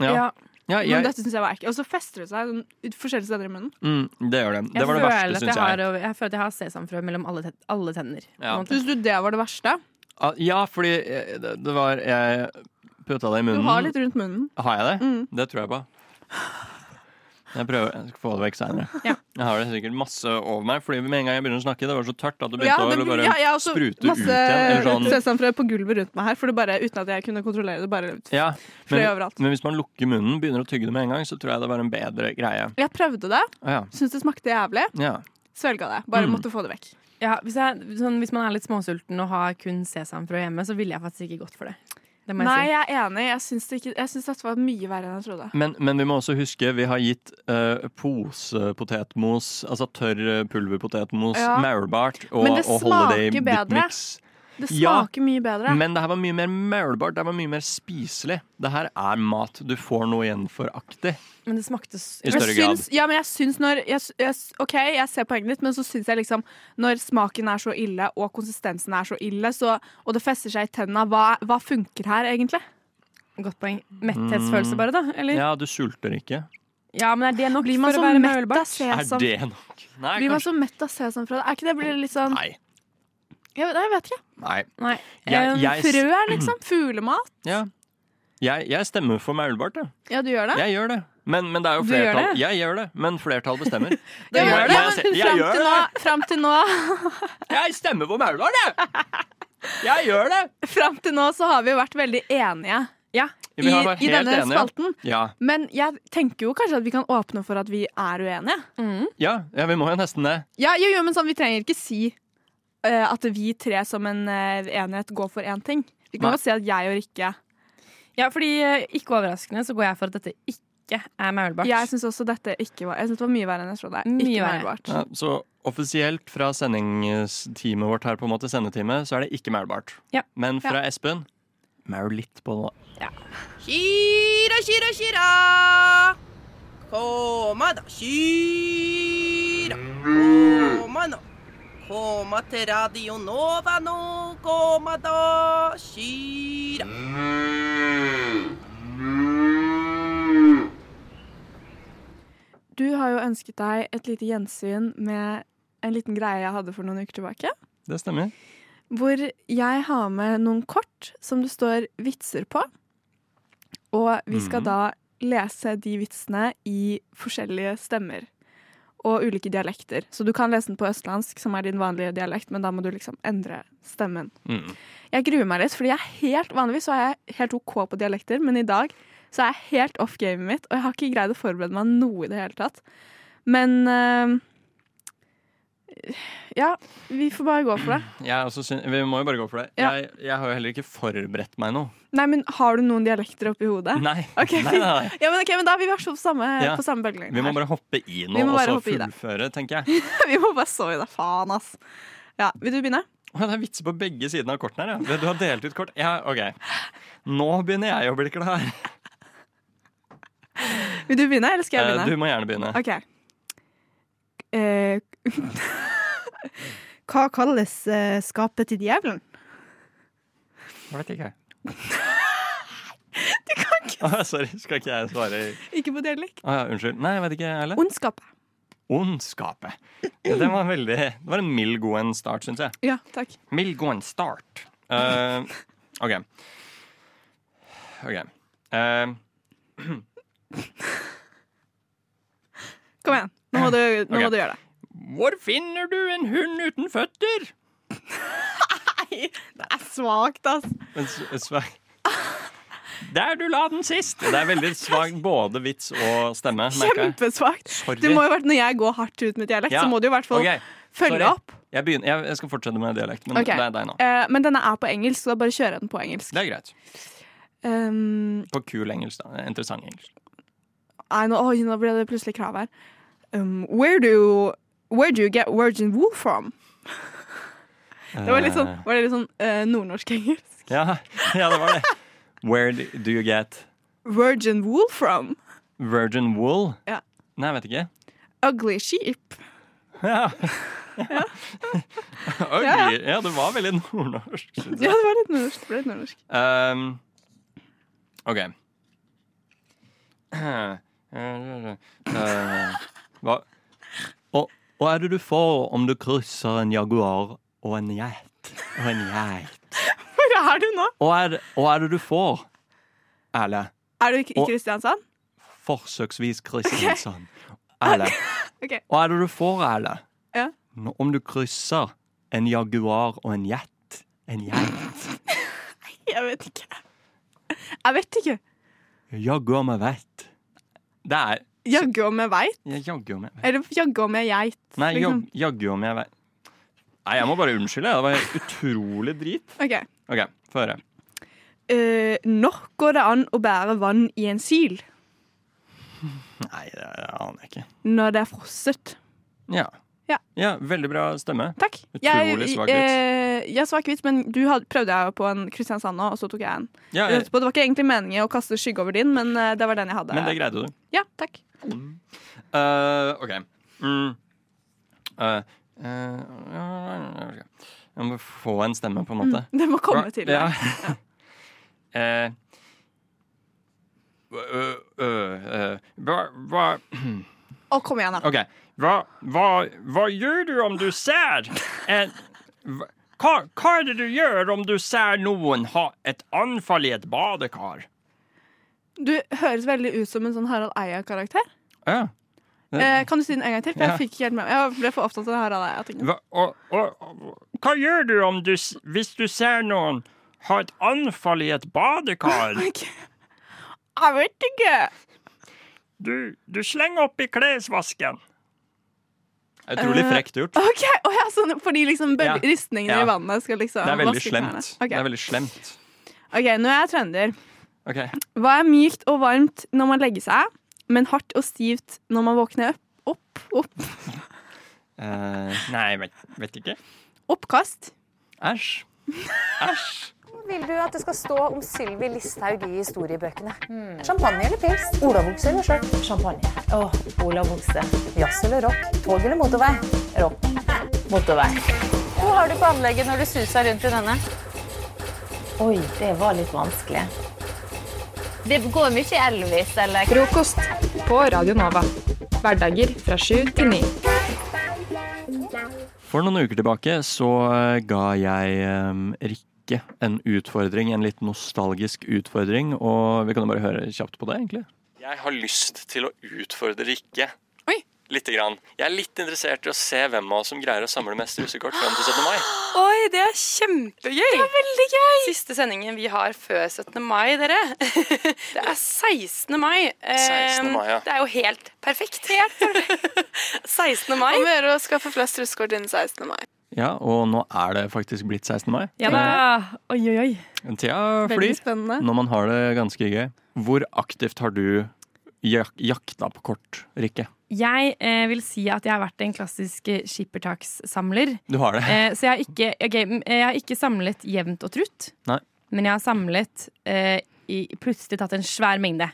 Speaker 6: Ja.
Speaker 11: Ja.
Speaker 6: Ja,
Speaker 5: Men
Speaker 6: jeg,
Speaker 5: dette syns jeg var ekkelt. Og så fester det seg sånn, ut forskjellige steder i munnen.
Speaker 6: mm, det gjør det. Det
Speaker 11: Jeg
Speaker 6: var det
Speaker 11: føler
Speaker 6: verste,
Speaker 11: at
Speaker 6: syns
Speaker 11: jeg.
Speaker 6: jeg.
Speaker 11: Har, jeg føler at jeg har sesamfrø mellom alle, te- alle tenner. på en
Speaker 6: Ja.
Speaker 11: måte.
Speaker 5: Syns du det var det verste?
Speaker 6: Ah, Ja, fordi eh, det, det var Jeg putta det i
Speaker 5: Du
Speaker 6: munnen.
Speaker 5: har litt rundt munnen.
Speaker 6: Har jeg det?
Speaker 5: Mm.
Speaker 6: Det tror jeg på. Jeg prøver, jeg skal få det vekk seinere.
Speaker 11: Ja.
Speaker 6: Jeg har det sikkert masse over meg, Fordi med en gang jeg begynner å snakke, det var så tørt at det begynte
Speaker 5: Ja,
Speaker 6: å
Speaker 5: det,
Speaker 6: bare
Speaker 5: ja, jeg har også
Speaker 6: sprute ut
Speaker 5: masse
Speaker 6: igjen, eller sånn-
Speaker 5: sesamfrø på gulvet rundt meg her, for det bare, uten at jeg kunne kontrollere det. Bare
Speaker 6: Ja,
Speaker 5: frø
Speaker 6: men,
Speaker 5: overalt.
Speaker 6: men hvis man lukker munnen, begynner å tygge det med en gang, så tror jeg det var en bedre greie.
Speaker 5: Jeg prøvde det,
Speaker 6: Å ja.
Speaker 5: syntes det smakte jævlig,
Speaker 6: ja.
Speaker 5: svelga det. Bare
Speaker 6: Mm.
Speaker 5: måtte få det vekk.
Speaker 11: Ja, hvis, jeg, sånn, hvis man er litt småsulten og har kun sesamfrø hjemme, så ville jeg faktisk ikke gått for det. Det må jeg
Speaker 5: Nei,
Speaker 11: si.
Speaker 5: jeg er enig. Jeg syns, det ikke, jeg syns dette var mye verre enn jeg trodde.
Speaker 6: Men, men vi må også huske, vi har gitt eh, posepotetmos, altså tørr eh, pulverpotetmos,
Speaker 5: Ja.
Speaker 6: maulbart og,
Speaker 5: Men det
Speaker 6: og holiday
Speaker 5: smaker bedre.
Speaker 6: bitmix.
Speaker 5: Det
Speaker 6: Ja,
Speaker 5: smaker mye bedre.
Speaker 6: Men det her var mye mer maulbart, det her var mye mer spiselig. Det her er mat du får noe igjen for aktig.
Speaker 11: Men det smakte s-
Speaker 6: I
Speaker 5: Jeg
Speaker 6: større grad.
Speaker 5: syns, ja, men jeg syns når jeg, s- jeg, s- OK, jeg ser poenget ditt, men så syns jeg liksom Når smaken er så ille, og konsistensen er så ille, så, og det fester seg i tenna, hva, hva funker her egentlig?
Speaker 11: Godt poeng. Metthetsfølelse, bare, da? Eller?
Speaker 6: Mm.
Speaker 11: Ja.
Speaker 6: Ja, du sulter ikke.
Speaker 11: men er det nok
Speaker 5: Blir man
Speaker 11: for
Speaker 5: så
Speaker 11: å være
Speaker 5: mett av
Speaker 11: mølbart?
Speaker 6: Er
Speaker 5: sesam?
Speaker 6: det nok? Nei,
Speaker 5: Blir man
Speaker 6: kanskje
Speaker 5: så mett av sesamfrø? Er ikke det blir det litt sånn
Speaker 6: Nei.
Speaker 5: jeg, vet- Nei, jeg vet ikke.
Speaker 6: Nei.
Speaker 11: Nei.
Speaker 6: Jeg,
Speaker 11: Um,
Speaker 6: jeg, s-
Speaker 5: Frø, liksom. Fuglemat.
Speaker 6: ja. jeg, jeg stemmer for maulbart, jeg.
Speaker 5: Ja, du gjør det?
Speaker 6: Jeg gjør det. Men, men det er jo
Speaker 11: Du gjør
Speaker 6: flertall.
Speaker 11: det?
Speaker 6: Jeg gjør det, men flertall bestemmer.
Speaker 5: Du
Speaker 6: Jeg
Speaker 5: gjør
Speaker 6: gjør
Speaker 5: det,
Speaker 6: det,
Speaker 5: men
Speaker 6: jeg ser- jeg
Speaker 5: fram
Speaker 6: gjør
Speaker 5: til nå, fram til nå
Speaker 6: Jeg stemmer på Maulard, jeg! Jeg gjør det!
Speaker 5: Fram til nå så har vi jo vært veldig enige
Speaker 11: Ja.
Speaker 5: i, i denne spalten.
Speaker 6: Ja.
Speaker 5: Men jeg tenker jo kanskje at vi kan åpne for at vi er uenige.
Speaker 11: Mm.
Speaker 6: Ja, ja, vi må jo nesten det.
Speaker 5: Ja, jo, jo, men sånn, vi trenger ikke si eh, at vi tre som en eh, enhet går for én ting. Vi kan
Speaker 6: Nei.
Speaker 5: bare si at jeg og Rikke
Speaker 11: ja, fordi eh, ikke overraskende så går jeg for at dette ikke ikke er maulbart.
Speaker 5: Jeg syns også dette ikke var Jeg synes det var mye verre enn jeg trodde. Ikke
Speaker 11: verre.
Speaker 5: maulbart.
Speaker 6: Ja, så offisielt fra sendingsteamet vårt her, på en måte, sendetime, så er det ikke maulbart.
Speaker 11: Ja.
Speaker 6: Men fra
Speaker 11: Ja.
Speaker 6: Espen maul litt på det.
Speaker 12: Kira, kira, kira. Koma da, kira. Koma nå. Koma til Radio Nova nå. Koma da, kira.
Speaker 5: Du har jo ønsket deg et lite gjensyn med en liten greie jeg hadde for noen uker tilbake.
Speaker 6: Det stemmer.
Speaker 5: Hvor jeg har med noen kort som det står vitser på. Og vi skal
Speaker 13: Mhm.
Speaker 5: da lese de vitsene i forskjellige stemmer. Og ulike dialekter. Så du kan lese den på østlandsk, som er din vanlige dialekt, men da må du liksom endre stemmen.
Speaker 11: Mm.
Speaker 5: Jeg gruer meg litt, fordi jeg er helt vanligvis så er jeg helt OK på dialekter, men i dag så er jeg helt off gamet mitt, og jeg har ikke greid å forberede meg noe i det hele tatt. Men eh, Ja, vi får bare gå for det.
Speaker 6: Jeg også syn- vi må jo bare gå for det.
Speaker 5: Ja.
Speaker 6: Jeg, jeg har jo heller ikke forberedt meg noe.
Speaker 5: Nei, men har du noen dialekter oppi hodet?
Speaker 6: Nei.
Speaker 5: Ok,
Speaker 6: Nei,
Speaker 5: fint.
Speaker 6: nei, nei.
Speaker 5: Ja, men, ok, men da er vi i hvert fall på samme,
Speaker 6: Ja.
Speaker 5: på samme bølgelengde.
Speaker 6: Vi må
Speaker 5: her.
Speaker 6: bare hoppe i
Speaker 5: Vi
Speaker 6: nå
Speaker 5: må
Speaker 6: og
Speaker 5: bare
Speaker 6: så
Speaker 5: hoppe i det.
Speaker 6: fullføre, tenker jeg.
Speaker 5: vi må bare så i det. Faen, ass. Ja, vil du begynne?
Speaker 6: Å, det er vitser på begge sidene av kortene her, ja. Du har delt ut kort. Ja, ok. Nå begynner jeg å bli klar.
Speaker 5: Vil du begynne, eller skal jeg
Speaker 6: Eh,
Speaker 5: begynne?
Speaker 6: du må gjerne begynne.
Speaker 5: Ok. Eh,
Speaker 14: Hva kalles eh, skapet til djevelen?
Speaker 6: Jeg vet ikke.
Speaker 5: du kan ikke
Speaker 6: Å, sorry, skal ikke jeg svare? i-
Speaker 5: Ikke på dialekt.
Speaker 6: Å ja, unnskyld. Nei, jeg vet ikke, Erle.
Speaker 5: Ondskapet.
Speaker 6: Ondskapet. Ja, Det var, veldig, det var en mild, god en start, syns jeg.
Speaker 5: Ja, takk.
Speaker 6: Mild, god en start. Eh, OK. OK. Eh,
Speaker 5: Kom igjen. Nå må du, nå
Speaker 6: Ok.
Speaker 5: må du gjøre det.
Speaker 6: Hvor finner du en hund uten føtter?
Speaker 5: Nei, det er svakt, ass.
Speaker 6: en s- en svak Der du la den sist! Det er veldig svak både vits og stemme. merker jeg.
Speaker 5: Kjempesvakt.
Speaker 6: Sorry.
Speaker 5: Det må jo vært, når jeg går hardt ut med dialekt, så må du i hvert fall
Speaker 6: ok.
Speaker 5: følge
Speaker 6: Sorry.
Speaker 5: opp.
Speaker 6: Jeg, begynner, jeg, jeg skal fortsette med dialekt, men
Speaker 5: Ok.
Speaker 6: det er deg nå.
Speaker 5: Eh, men denne er på engelsk, så da bare kjører jeg den på engelsk.
Speaker 6: Det er greit.
Speaker 5: Um,
Speaker 6: På kul engelsk, da. Interessant engelsk.
Speaker 5: I know, oi, nå ble det plutselig krav her. Um, where, do, where do you get virgin wool from? Det var litt sånn,
Speaker 6: Eh,
Speaker 5: var det litt sånn eh, nordnorsk-engelsk.
Speaker 6: ja, ja, det var det. Where do you get
Speaker 5: Virgin wool from
Speaker 6: virgin wool?
Speaker 5: Ja.
Speaker 6: Nei, jeg vet ikke.
Speaker 5: ugly sheep.
Speaker 6: Ja. Ugly.
Speaker 5: Ja,
Speaker 6: Ja,
Speaker 5: ja.
Speaker 6: det var veldig nordnorsk. synes
Speaker 5: Ja,
Speaker 6: jeg.
Speaker 5: det var litt nordnorsk. Det ble litt nordnorsk.
Speaker 6: Um, OK. Eh, hva og, og er det du får om du krysser en jaguar og en geit? Og en geit.
Speaker 5: Hvor er du nå?
Speaker 6: Og er, det- og er det du får, Erle?
Speaker 5: Er du i
Speaker 6: Og-
Speaker 5: Kristiansand?
Speaker 6: Forsøksvis Kristiansand. Erle.
Speaker 5: Ok.
Speaker 6: Og er det du får, Erle?
Speaker 5: Ja.
Speaker 6: Nå- Om du krysser en jaguar og en geit En geit.
Speaker 5: Jeg vet ikke. Jeg vet ikke.
Speaker 6: Jaggu om jeg veit. Det er
Speaker 5: Jaggu om jeg veit.
Speaker 6: Ja, Jaggu om jeg veit.
Speaker 5: Eller jaggu om jeg geit.
Speaker 6: Nei,
Speaker 5: liksom.
Speaker 6: jag- jaggu om jeg veit. Nei, jeg må bare unnskylde. Det var utrolig drit.
Speaker 5: Ok.
Speaker 6: OK, få høre.
Speaker 5: Eh, når går det an å bære vann i en sil
Speaker 6: Nei, det aner jeg ikke.
Speaker 5: når det er frosset?
Speaker 6: Ja.
Speaker 5: Ja.
Speaker 6: veldig bra stemme.
Speaker 5: Takk.
Speaker 6: Utrolig svak vits.
Speaker 5: Eh, ja, svak vits, men du hadde, prøvde jeg jo på en Kristiansand nå, og så tok jeg en.
Speaker 6: Ja,
Speaker 5: Jeg
Speaker 6: jeg-
Speaker 5: holdt på, Det var ikke egentlig meningen å kaste skygge over din, men eh, det var den jeg hadde.
Speaker 6: Men det greide du.
Speaker 5: Ja, takk.
Speaker 6: Eh, OK. Mm. Eh, eh, ok. Jeg må få en stemme, på en måte.
Speaker 5: Mm, det må komme
Speaker 6: Hva-
Speaker 5: til
Speaker 6: Ja.
Speaker 5: deg.
Speaker 6: Eh, øh, øh, øh, Hva hva-
Speaker 5: Å, kom igjen, da.
Speaker 6: OK. Hva, hva, hva gjør du om du ser en hva, hva- hva er det du gjør om du ser noen ha et anfall i et badekar?
Speaker 5: Du høres veldig ut som en sånn Harald Eia-karakter.
Speaker 6: Ja.
Speaker 5: Eh, kan du si den en gang til? For
Speaker 6: Ja.
Speaker 5: Jeg fikk ikke helt med Jeg ble for opptatt av Harald Eia-tingen.
Speaker 6: Hva, og, og, og, hva gjør du, om du s- hvis du ser noen ha et anfall i et badekar?
Speaker 5: Jeg vet ikke!
Speaker 6: Du, du slenger oppi klesvasken.
Speaker 5: Eh, Ok, Å ja, sånn, Fordi liksom bøl-
Speaker 6: Ja.
Speaker 5: ristningene
Speaker 6: Ja.
Speaker 5: i vannet skal liksom
Speaker 6: Det er veldig
Speaker 5: vaske
Speaker 6: slemt.
Speaker 5: klærne. Ok.
Speaker 6: Det er veldig slemt.
Speaker 5: OK, nå er jeg trønder.
Speaker 6: Ok.
Speaker 5: Hva er mykt og varmt når man legger seg?
Speaker 1: men hardt og stivt når man våkner opp. Opp, opp.
Speaker 6: Eh, nei, vet, vet ikke.
Speaker 1: Oppkast.
Speaker 6: Æsj. Æsj.
Speaker 12: Vil du at det skal stå om Sylvi Listhaug i historiebøkene? Champagne eller pils? Olavokse eller sjøl? Hmm. Champagne. Åh, Olavokse. Jazz eller rock? Tog eller motorvei? Rock. Motorvei. Hvor har du på anlegget når du suser rundt i denne? Oi, det var litt vanskelig. Det går mye Elvis eller
Speaker 2: Frokost på Radio Nova. Hverdager fra sju til ni.
Speaker 6: For noen uker tilbake så eh, ga jeg em, Rikke en utfordring, en litt nostalgisk utfordring, og vi kan jo bare høre kjapt på det, egentlig. Jeg har lyst til å utfordre Rikke.
Speaker 5: Oi.
Speaker 6: Litt grann. Jeg er litt interessert i å se hvem av oss som greier å samle mest russekort fram til 17. mai.
Speaker 15: Oi, det er kjempegøy! Det er veldig gøy! Siste sendingen vi har før 17. mai, dere. Det er 16. mai. Eh,
Speaker 6: 16. mai, ja.
Speaker 15: Det er jo helt perfekt. Helt perfekt. 16. mai. Om å gjøre å skaffe flest russekort innen 16. mai.
Speaker 6: Ja, og nå er det faktisk blitt 16. mai.
Speaker 5: Ja da. Oi, oi, oi.
Speaker 6: Tida
Speaker 5: Veldig
Speaker 6: flyr
Speaker 5: spennende.
Speaker 6: når man har det ganske gøy. Hvor aktivt har du jak jakta på kort, Rikke?
Speaker 5: Jeg eh, vil si at jeg har vært en klassisk eh, skippertakssamler.
Speaker 6: Du har det.
Speaker 5: Eh, så jeg har, ikke, ok, m- eh, jeg har ikke samlet jevnt og trutt,
Speaker 6: Nei.
Speaker 5: men jeg har samlet eh, i, plutselig tatt en svær mengde.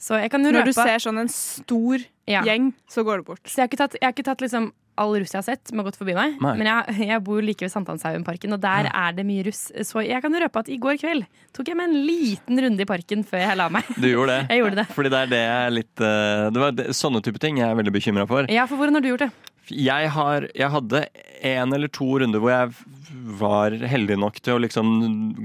Speaker 5: Så jeg kan røpe
Speaker 1: Når du ser sånn en stor gjeng, så går det bort.
Speaker 5: Så jeg har ikke tatt, jeg har ikke tatt liksom all russ jeg har sett, som har gått forbi meg.
Speaker 1: Nei.
Speaker 5: Men jeg, jeg bor like ved Sankthanshaugenparken, og der er det mye russ. Så jeg kan røpe at i går kveld tok jeg meg en liten runde i parken før jeg la meg.
Speaker 6: Du gjorde det.
Speaker 5: Jeg gjorde det.
Speaker 6: Fordi det er det jeg er litt eh, Det var det, sånne type ting jeg er veldig bekymra for.
Speaker 5: Ja, for hvordan har du gjort det?
Speaker 6: Jeg, har, jeg hadde en eller to runder hvor jeg var heldig nok til å liksom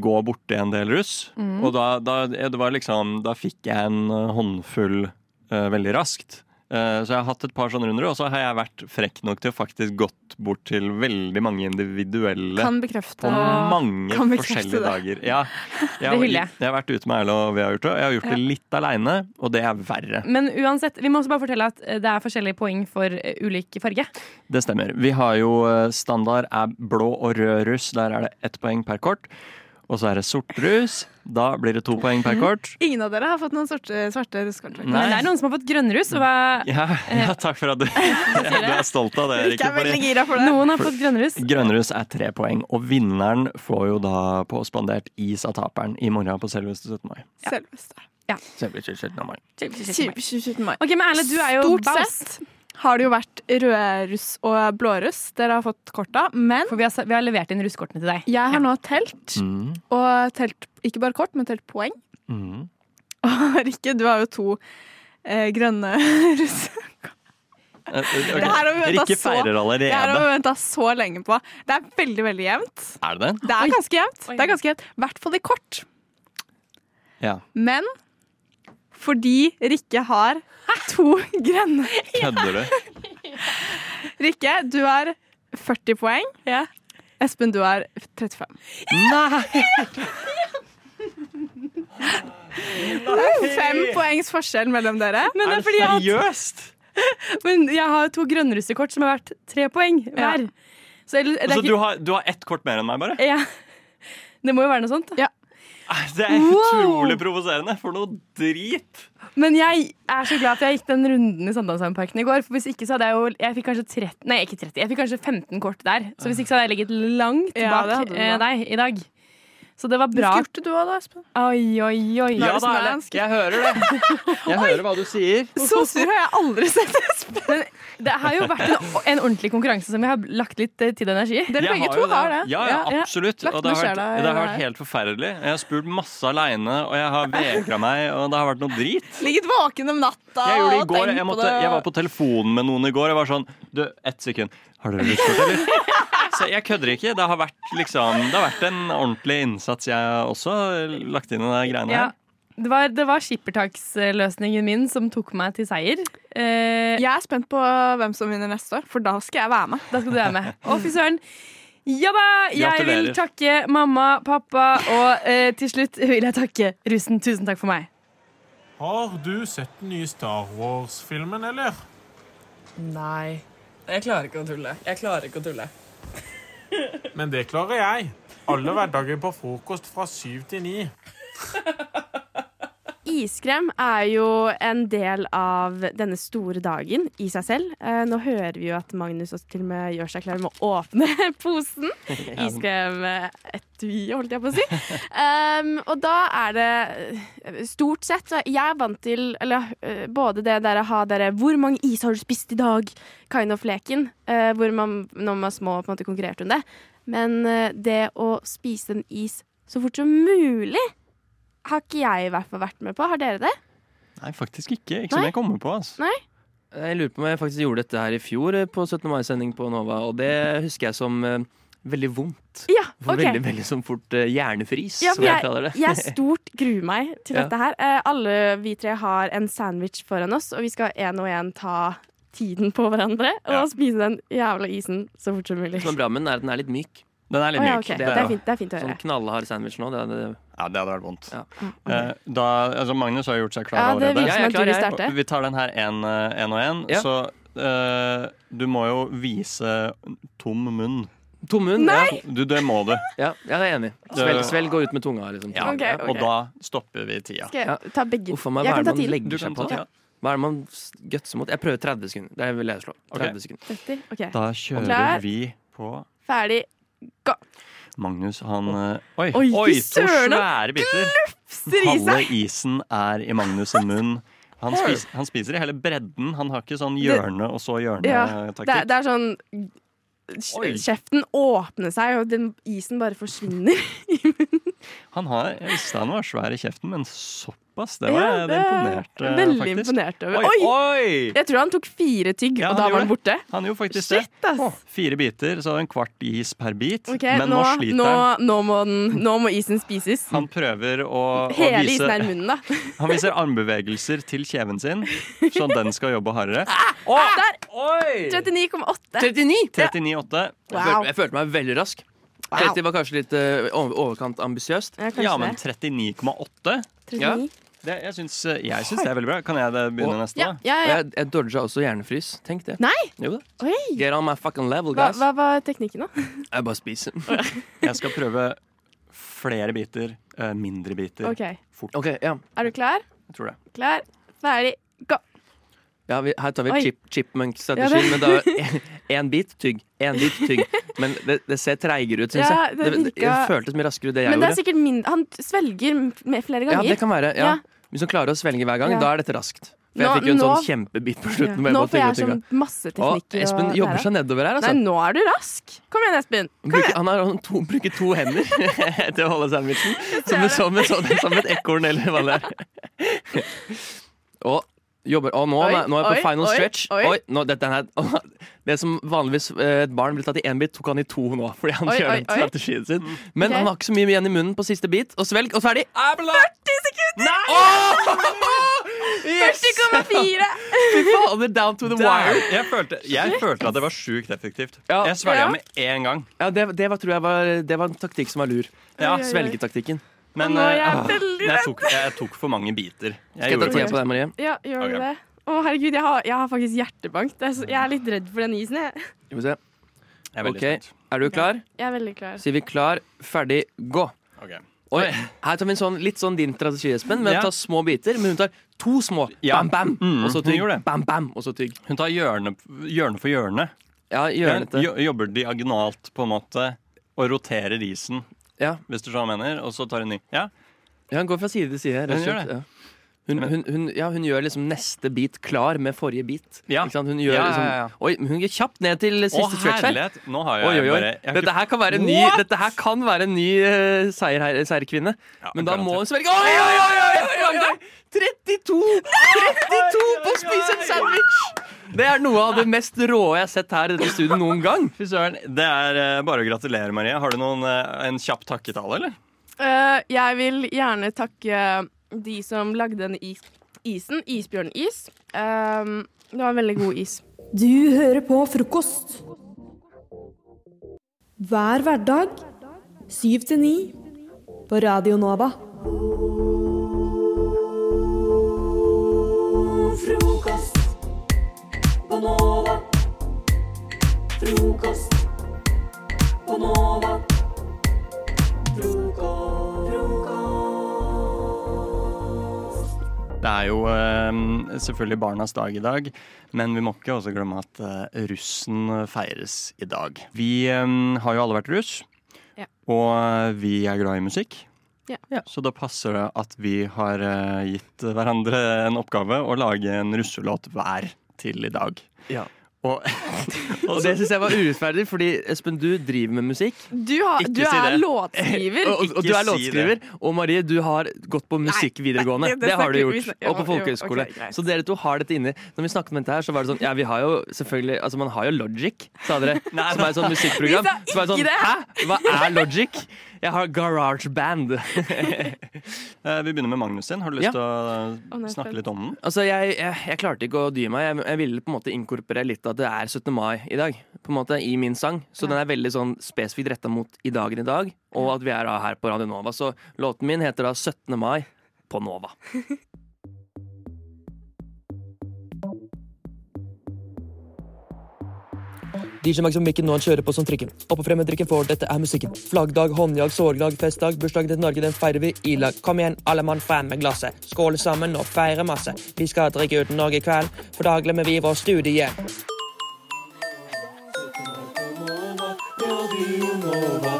Speaker 6: gå borti en del russ.
Speaker 1: Mhm.
Speaker 16: Mm.
Speaker 6: Og da, da, det var liksom, da fikk jeg en eh, håndfull eh, veldig raskt. Eh, så jeg har hatt et par sånne runder, og så har jeg vært frekk nok til å faktisk gått bort til veldig mange individuelle
Speaker 1: Kan bekrefte.
Speaker 6: på mange
Speaker 1: Kan bekrefte
Speaker 6: forskjellige
Speaker 1: det.
Speaker 6: dager. Ja, jeg,
Speaker 5: Det hyller jeg.
Speaker 6: har vært ute med Erle, og vi har gjort det. Jeg har gjort det
Speaker 5: Ja.
Speaker 6: litt aleine, og det er verre.
Speaker 5: Men uansett, vi må også bare fortelle at eh, det er forskjellige poeng for eh, ulik farge.
Speaker 6: Det stemmer. Vi har jo eh, standard er blå og rød russ. Der er det ett poeng per kort. Og så er det sort russ. Da blir det to poeng per kort.
Speaker 1: Ingen av dere har fått noen sorte, svarte russekort?
Speaker 6: Nei. Men det er
Speaker 5: noen som har fått grønnrus. Og hva-
Speaker 6: Ja, ja takk for at du, du er stolt av det. Rikke, fordi
Speaker 5: Noen har fått grønnrus.
Speaker 6: Grønnrus er tre poeng, og vinneren får jo da på spandert is av taperen i morgen på selveste 17. mai.
Speaker 1: Selveste.
Speaker 6: Selveste 17. mai.
Speaker 1: Ok, men Erle, du er jo Stort sett har det jo vært rødruss og blåruss dere har fått korta, men
Speaker 5: For vi har, vi har levert inn russkortene til deg.
Speaker 1: Jeg har nå telt, og telt ikke bare kort, men telt poeng. Og Rikke, du har jo to eh, grønne russ.
Speaker 6: Eh, eh, ok.
Speaker 1: Det her har vi ventet
Speaker 6: Rikke
Speaker 1: så-
Speaker 6: feirer
Speaker 1: Det her har vi
Speaker 6: allerede.
Speaker 1: venta så lenge på. Det er veldig, veldig jevnt.
Speaker 6: Er det
Speaker 1: Det
Speaker 6: det?
Speaker 1: er ganske jevnt. Det er ganske jevnt. I hvert fall i kort.
Speaker 6: Ja.
Speaker 1: Men fordi Rikke har to grønne
Speaker 6: Kødder du?
Speaker 1: Rikke, du har 40 poeng. Espen, du har 35.
Speaker 6: Nei!
Speaker 1: Fem poengs forskjell mellom dere.
Speaker 5: Men det er fordi jeg har- Men jeg har to grønnrussekort som har vært tre poeng hver. Så, eller-
Speaker 6: Så
Speaker 5: det er ikke-
Speaker 6: Altså, du har, du har ett kort mer enn meg, bare?
Speaker 5: Ja. Det må jo være noe sånt. da.
Speaker 6: Det er
Speaker 5: Wow!
Speaker 6: utrolig provoserende. For noe drit!
Speaker 5: Men jeg er så glad at jeg gikk den runden i Sandalsheimparken i går. For hvis ikke så hadde jeg jo Jeg fikk kanskje 30, nei, ikke 30, jeg fikk kanskje 15 kort der. Så hvis ikke så hadde jeg ligget langt
Speaker 1: Ja, det
Speaker 5: bak
Speaker 1: hadde du
Speaker 5: eh,
Speaker 1: da.
Speaker 5: deg i dag. Så det var bra.
Speaker 1: Hva gjorde du da, Espen?
Speaker 5: Oi, oi, oi.
Speaker 6: Ja da, Erle. Jeg hører det. Jeg hører hva du sier.
Speaker 1: Så sur har jeg aldri sett Espen.
Speaker 5: Det har jo vært en, en ordentlig konkurranse som jeg har lagt litt eh, tid og energi i.
Speaker 6: Jeg har jo Ja, ja, absolutt. Og det har, vært, det har vært helt forferdelig. Jeg har spurt masse aleine, og jeg har vegra meg, og det har vært noe drit.
Speaker 1: Ligget våken om natta
Speaker 6: Jeg gjorde det i
Speaker 1: og
Speaker 6: går.
Speaker 1: tenkt
Speaker 6: Jeg,
Speaker 1: på
Speaker 6: måtte,
Speaker 1: det.
Speaker 6: jeg var på telefonen med noen i går. Jeg var sånn Du, ett sekund. Har dere lyst til det, eller? Så jeg kødder ikke. Det har, vært, liksom, det har vært en ordentlig innsats, jeg har også lagt inn i de greiene
Speaker 5: Ja.
Speaker 6: her.
Speaker 5: Det var, det var skippertaksløsningen min som tok meg til seier. Eh,
Speaker 1: jeg er spent på hvem som vinner neste år, for da skal jeg være med.
Speaker 5: Da skal du være med. Å, fy søren. Ja da! Jeg vil
Speaker 1: Gratulerer.
Speaker 5: takke mamma, pappa, og eh, til slutt vil jeg takke russen. Tusen takk for meg.
Speaker 4: Har du sett den nye Star Wars-filmen, eller?
Speaker 17: Nei. Jeg klarer ikke å tulle. Jeg klarer ikke å tulle.
Speaker 4: Men det klarer jeg. Alle hverdager på frokost fra syv til ni.
Speaker 5: Iskrem er jo en del av denne store dagen i seg selv. Eh, Nå hører vi jo at Magnus også til og med gjør seg klar med å åpne posen. Iskrem-etui, holdt jeg på å si. Em, og da er det eh, stort sett så Jeg er vant til eller, eh, både det der å ha dere 'Hvor mange is har du spist i dag?' kind of-leken. eh, hvor man når man var små, på en måte konkurrerte om det. Men eh, det å spise en is så fort som mulig har ikke jeg i hvert fall vært med på. Har dere det?
Speaker 6: Nei, faktisk ikke. Ikke som
Speaker 5: Nei.
Speaker 6: jeg kommer på. altså.
Speaker 5: Nei?
Speaker 18: Jeg lurer på om jeg faktisk gjorde dette her i fjor eh, på 17. mai-sending på Nova, og det husker jeg som eh, veldig vondt.
Speaker 5: Ja,
Speaker 18: For
Speaker 5: ok.
Speaker 18: Veldig, veldig sånn fort eh, hjernefris,
Speaker 5: Ja, for
Speaker 18: som jeg
Speaker 5: jeg,
Speaker 18: kaller det.
Speaker 5: jeg stort gruer meg til
Speaker 18: Ja.
Speaker 5: dette her. Eh, alle vi tre har en sandwich foran oss, og vi skal en og en ta tiden på hverandre og spise den jævla isen så fort som mulig.
Speaker 18: Det som er bra med den, er at den er litt myk. Den
Speaker 5: litt Å ja, myk. ok. Det er fint- det er fint å høre.
Speaker 18: Sånn knallhard sandwich nå, det hadde
Speaker 6: Ja, det hadde vært vondt.
Speaker 18: Ja.
Speaker 6: Eh, Da, altså Magnus har gjort seg klar
Speaker 18: Ja, det
Speaker 6: allerede.
Speaker 18: virker som Ja, jeg er at du klar, vil jeg. starte.
Speaker 6: Vi tar den her én og én.
Speaker 18: Ja.
Speaker 6: Så eh, du må jo vise tom munn.
Speaker 18: Tom munn? Nei!
Speaker 6: Du, det må du. Eh,
Speaker 18: Ja, jeg er enig. Svelg, svelg og ut med tunga. Liksom.
Speaker 6: Ja,
Speaker 5: Ok, ok.
Speaker 6: Og da stopper vi tida.
Speaker 5: Skal jeg ta begge?
Speaker 18: Uff, meg,
Speaker 5: Jeg
Speaker 18: hva er det
Speaker 5: kan ta
Speaker 18: man
Speaker 5: tiden. Du
Speaker 18: legger
Speaker 5: kan
Speaker 18: seg på?
Speaker 5: ta tiden.
Speaker 18: Hva er det man s- gutser mot? Jeg prøver 30 sekunder. Det vil jeg slå. 30 sekunder.
Speaker 5: 30? Ok.
Speaker 6: Da kjører
Speaker 5: Klar,
Speaker 6: vi på
Speaker 5: Ferdig. Gå.
Speaker 6: Magnus, han eh, Oi,
Speaker 5: Oi, fy
Speaker 6: to
Speaker 5: søren,
Speaker 6: svære biter!
Speaker 5: glufser i
Speaker 6: Halve
Speaker 5: seg.
Speaker 6: isen er i Magnus' sin munn. Han,
Speaker 5: Oi.
Speaker 6: spis, han spiser i hele bredden. Han har ikke sånn
Speaker 5: Det-
Speaker 6: hjørne og så
Speaker 5: Ja, det, er-
Speaker 6: hjørne-taktikk.
Speaker 5: det er sånn
Speaker 6: eh, Oi.
Speaker 5: Kjeften åpner seg, og den isen bare forsvinner.
Speaker 6: Han har, jeg visste han var svær i kjeften, men såpass, det var
Speaker 5: Ja,
Speaker 6: det
Speaker 5: er
Speaker 6: imponerte
Speaker 5: jeg Veldig
Speaker 6: faktisk.
Speaker 5: imponert over.
Speaker 6: Oi,
Speaker 5: Oi!
Speaker 6: oi!
Speaker 5: Jeg tror han tok fire tygg,
Speaker 6: Ja,
Speaker 5: og da
Speaker 6: han
Speaker 5: var han
Speaker 6: gjorde
Speaker 5: borte.
Speaker 6: Han gjorde faktisk
Speaker 5: Shit,
Speaker 6: det.
Speaker 5: ass.
Speaker 6: Fire biter, så en kvart is per bit.
Speaker 5: Ok,
Speaker 6: men
Speaker 5: nå,
Speaker 6: nå,
Speaker 5: nå,
Speaker 6: sliter
Speaker 5: nå,
Speaker 6: han.
Speaker 5: må den, nå må isen spises.
Speaker 6: Han prøver å, å
Speaker 5: Hele isen er i
Speaker 6: vise
Speaker 5: munnen, da.
Speaker 6: Han viser armbevegelser til kjeven sin, så den skal jobbe hardere.
Speaker 5: Ah, Der! 39,8.
Speaker 6: 39,8.
Speaker 18: Jeg,
Speaker 5: Wow.
Speaker 18: følte, jeg følte meg veldig rask. 30 var kanskje litt eh, over- overkant ambisiøst.
Speaker 5: Ja, kanskje
Speaker 6: Ja, men
Speaker 5: det.
Speaker 6: 39,8?
Speaker 18: Ja.
Speaker 6: Det, jeg syns eh, jeg syns det er veldig bra. Kan jeg det begynne neste?
Speaker 5: Ja,
Speaker 6: da?
Speaker 5: ja, ja.
Speaker 18: Jeg, jeg dodga også hjernefrys. Tenk det.
Speaker 5: Nei!
Speaker 18: Jo da.
Speaker 5: Oi!
Speaker 18: Get on my fucking level,
Speaker 5: Hva,
Speaker 18: guys.
Speaker 5: hva var teknikken, da?
Speaker 18: Jeg bare spiser.
Speaker 6: Jeg skal prøve flere biter, eh, mindre biter,
Speaker 5: Ok.
Speaker 6: fort.
Speaker 18: Ok, ja.
Speaker 5: Er du klar?
Speaker 6: Jeg tror det.
Speaker 5: Klar, ferdig, gå!
Speaker 18: Ja, vi, her tar vi
Speaker 5: Oi.
Speaker 18: chip,
Speaker 5: Ja,
Speaker 18: chipmunk-strategien,
Speaker 5: det-
Speaker 18: men da én bit tygg, én bit tygg. Men det, det ser treigere ut, syns
Speaker 5: Ja,
Speaker 18: jeg.
Speaker 5: det
Speaker 18: Det, det, det
Speaker 5: virka-
Speaker 18: føltes mye raskere ut det jeg
Speaker 5: Men det er
Speaker 18: gjorde.
Speaker 5: sikkert min... Han svelger m- med flere
Speaker 18: Ja,
Speaker 5: ganger.
Speaker 18: det kan være. Ja.
Speaker 5: Ja.
Speaker 18: Hvis du klarer å svelge hver gang,
Speaker 5: Ja.
Speaker 18: da er dette raskt. For
Speaker 5: Nå-
Speaker 18: jeg fikk jo en
Speaker 5: nå-
Speaker 18: sånn kjempebit på slutten. hvor
Speaker 5: Nå
Speaker 18: bare
Speaker 5: får jeg
Speaker 18: tygget og
Speaker 5: sånn
Speaker 18: tygget.
Speaker 5: masse teknikker.
Speaker 18: Å, Espen
Speaker 5: og
Speaker 18: jobber
Speaker 5: lære.
Speaker 18: seg nedover her, altså.
Speaker 5: Nei, nå er du rask! Kom igjen, Espen.
Speaker 18: Han bruker- han har han to, bruker to hender til å holde sandwichen. Som, et- som, et- som, et- som et ekorn, eller hva det er. Og jobber Å, nå,
Speaker 5: Oi,
Speaker 18: nå er jeg på
Speaker 5: oi,
Speaker 18: final
Speaker 5: oi,
Speaker 18: stretch.
Speaker 5: oi.
Speaker 18: Oi, nå, dette er, det som vanligvis eh, et barn blir tatt i én bit, tok han i to nå. Fordi han
Speaker 5: Oi,
Speaker 18: kjører
Speaker 5: oi,
Speaker 18: den
Speaker 5: oi.
Speaker 18: strategien sin. Men
Speaker 5: Ok.
Speaker 18: han har ikke så mye igjen i munnen på siste bit. Og svelg, og ferdig!
Speaker 5: 40 sekunder!
Speaker 18: Yes!
Speaker 5: 40,4!
Speaker 18: Fy fader, down to the
Speaker 6: Der!
Speaker 18: wire.
Speaker 6: Jeg følte, jeg følte at det var sjukt effektivt. Jeg svelga
Speaker 18: Ja.
Speaker 6: med én gang.
Speaker 18: Ja, det, det var, tror jeg var, det var en taktikk som var lur.
Speaker 6: Ja. Oi, oi, oi.
Speaker 18: Svelgetaktikken.
Speaker 6: Men
Speaker 5: Nå er jeg
Speaker 6: eh,
Speaker 5: veldig
Speaker 6: jeg, tok, jeg tok for mange biter.
Speaker 18: Skal jeg ta
Speaker 6: gjorde
Speaker 18: tida
Speaker 6: faktisk-
Speaker 18: på deg, Marie?
Speaker 5: Ja, gjør
Speaker 6: Ok.
Speaker 5: du det? Å, herregud, jeg har, jeg har faktisk hjertebank. Det er så- Jeg er litt redd for den isen, jeg.
Speaker 18: Skal vi se.
Speaker 6: er veldig
Speaker 18: Ok, Er du klar?
Speaker 5: Jeg er veldig klar.
Speaker 18: Sier vi klar, ferdig, gå.
Speaker 6: Ok.
Speaker 18: Oi, her tar vi en sånn, litt sånn din strategi, Espen. Med
Speaker 6: Ja.
Speaker 18: å ta små biter. Men hun tar to små.
Speaker 6: Ja.
Speaker 18: Bam, bam.
Speaker 6: Mm,
Speaker 18: og så
Speaker 6: hun
Speaker 18: tygg.
Speaker 6: gjorde det.
Speaker 18: Bam, bam. Og så tygg.
Speaker 6: Hun tar hjørne, hjørne for hjørne.
Speaker 18: Ja, hjørnete.
Speaker 6: Hun jo- jobber diagonalt, på en måte, og roterer isen,
Speaker 18: Ja.
Speaker 6: hvis du så mener. Og så tar hun ny. Ja.
Speaker 18: Ja, hun går fra side til side. Rett og
Speaker 6: Hun gjør
Speaker 18: slett.
Speaker 6: det.
Speaker 18: Ja. Hun, hun, hun, ja, hun gjør liksom neste bit klar med forrige bit. Ikke sant? Hun gjør
Speaker 6: Ja, ja,
Speaker 18: liksom
Speaker 6: ja.
Speaker 18: Oi, men hun går kjapt ned til
Speaker 6: Å,
Speaker 18: siste stretch her.
Speaker 6: herlighet! Nå har jeg
Speaker 18: Oi, oi, oi.
Speaker 6: bare jeg har
Speaker 18: Dette
Speaker 6: ikke-
Speaker 18: her kan være en ny,
Speaker 6: What?
Speaker 18: dette her kan være en ny eh, seier her, seierkvinne. Men da må hun svelge Oi, oi, oi! oi, oi, oi, oi. 32! 32 på å spise en sandwich! Det er noe av det mest rå jeg har sett her i dette studioet noen gang.
Speaker 6: Fy søren. Det er eh, bare å gratulere, Marie. Har du noen, eh, en kjapp takketale, eller?
Speaker 5: Eh, jeg vil gjerne takke de som lagde denne is isen, Isbjørnis. Um, det var en veldig god is.
Speaker 19: Du hører på frokost. Hver hverdag 7 til 9 på Radio Nova.
Speaker 12: Frokost på Nova. Frokost på Nova. Frokost.
Speaker 6: Det er jo eh, selvfølgelig barnas dag i dag, men vi må ikke også glemme at eh, russen feires i dag. Vi eh, har jo alle vært russ,
Speaker 5: Ja.
Speaker 6: og eh, vi er glad i musikk.
Speaker 5: Ja.
Speaker 6: Så da passer det at vi har eh, gitt hverandre en oppgave å lage en russelåt hver til i dag. Og,
Speaker 18: Og det syns jeg var urettferdig, fordi Espen, du driver med musikk.
Speaker 5: Du, har,
Speaker 18: Ikke
Speaker 5: du
Speaker 18: si
Speaker 5: er
Speaker 18: det.
Speaker 5: låtskriver.
Speaker 18: og, og du er låtskriver. Og Marie, du har gått på musikk videregående.
Speaker 5: det
Speaker 18: det, har du
Speaker 5: snakker vi
Speaker 18: gjort.
Speaker 5: snak-
Speaker 18: og
Speaker 5: ja,
Speaker 18: på
Speaker 5: jo, ok,
Speaker 18: folkehøyskole.
Speaker 5: greit.
Speaker 18: så dere to har dette inni. Når vi snakket om dette her, så var det sånn Ja, vi har jo selvfølgelig Altså, man har jo Logic, sa dere.
Speaker 6: Nei,
Speaker 18: som er et sånt musikkprogram.
Speaker 5: vi sa
Speaker 18: Som er sånn,
Speaker 5: ikke det.
Speaker 18: Hæ? Hva er Logic? Jeg har Garage Band.
Speaker 6: eh, vi begynner med Magnus sin. Har du lyst
Speaker 18: Ja.
Speaker 6: til å
Speaker 18: Å,
Speaker 6: eh,
Speaker 18: nei,
Speaker 6: snakke
Speaker 18: spent.
Speaker 6: litt om den?
Speaker 18: Altså, jeg, jeg, jeg klarte ikke å dy meg. Jeg, jeg ville på en måte inkorporere litt at det er 17. mai i dag. På en måte I min sang. Så den er veldig sånn spesifikt retta mot i dagen i dag, og at vi er da her på Radio Nova. Så låten min heter da 17. mai på Nova.
Speaker 20: DJ Mag som mikken nå han kjører på som trikken. Opp og frem med drikken, for dette er musikken. Flaggdag, håndjag, sårdag, festdag, bursdagen til Norge, den feirer vi i lag. Kom igjen, alle mann, frem med glasset. Skål sammen og feire masse. Vi skal drikke uten Norge i kveld, for da glemmer vi vår studie.
Speaker 12: Radio Nova,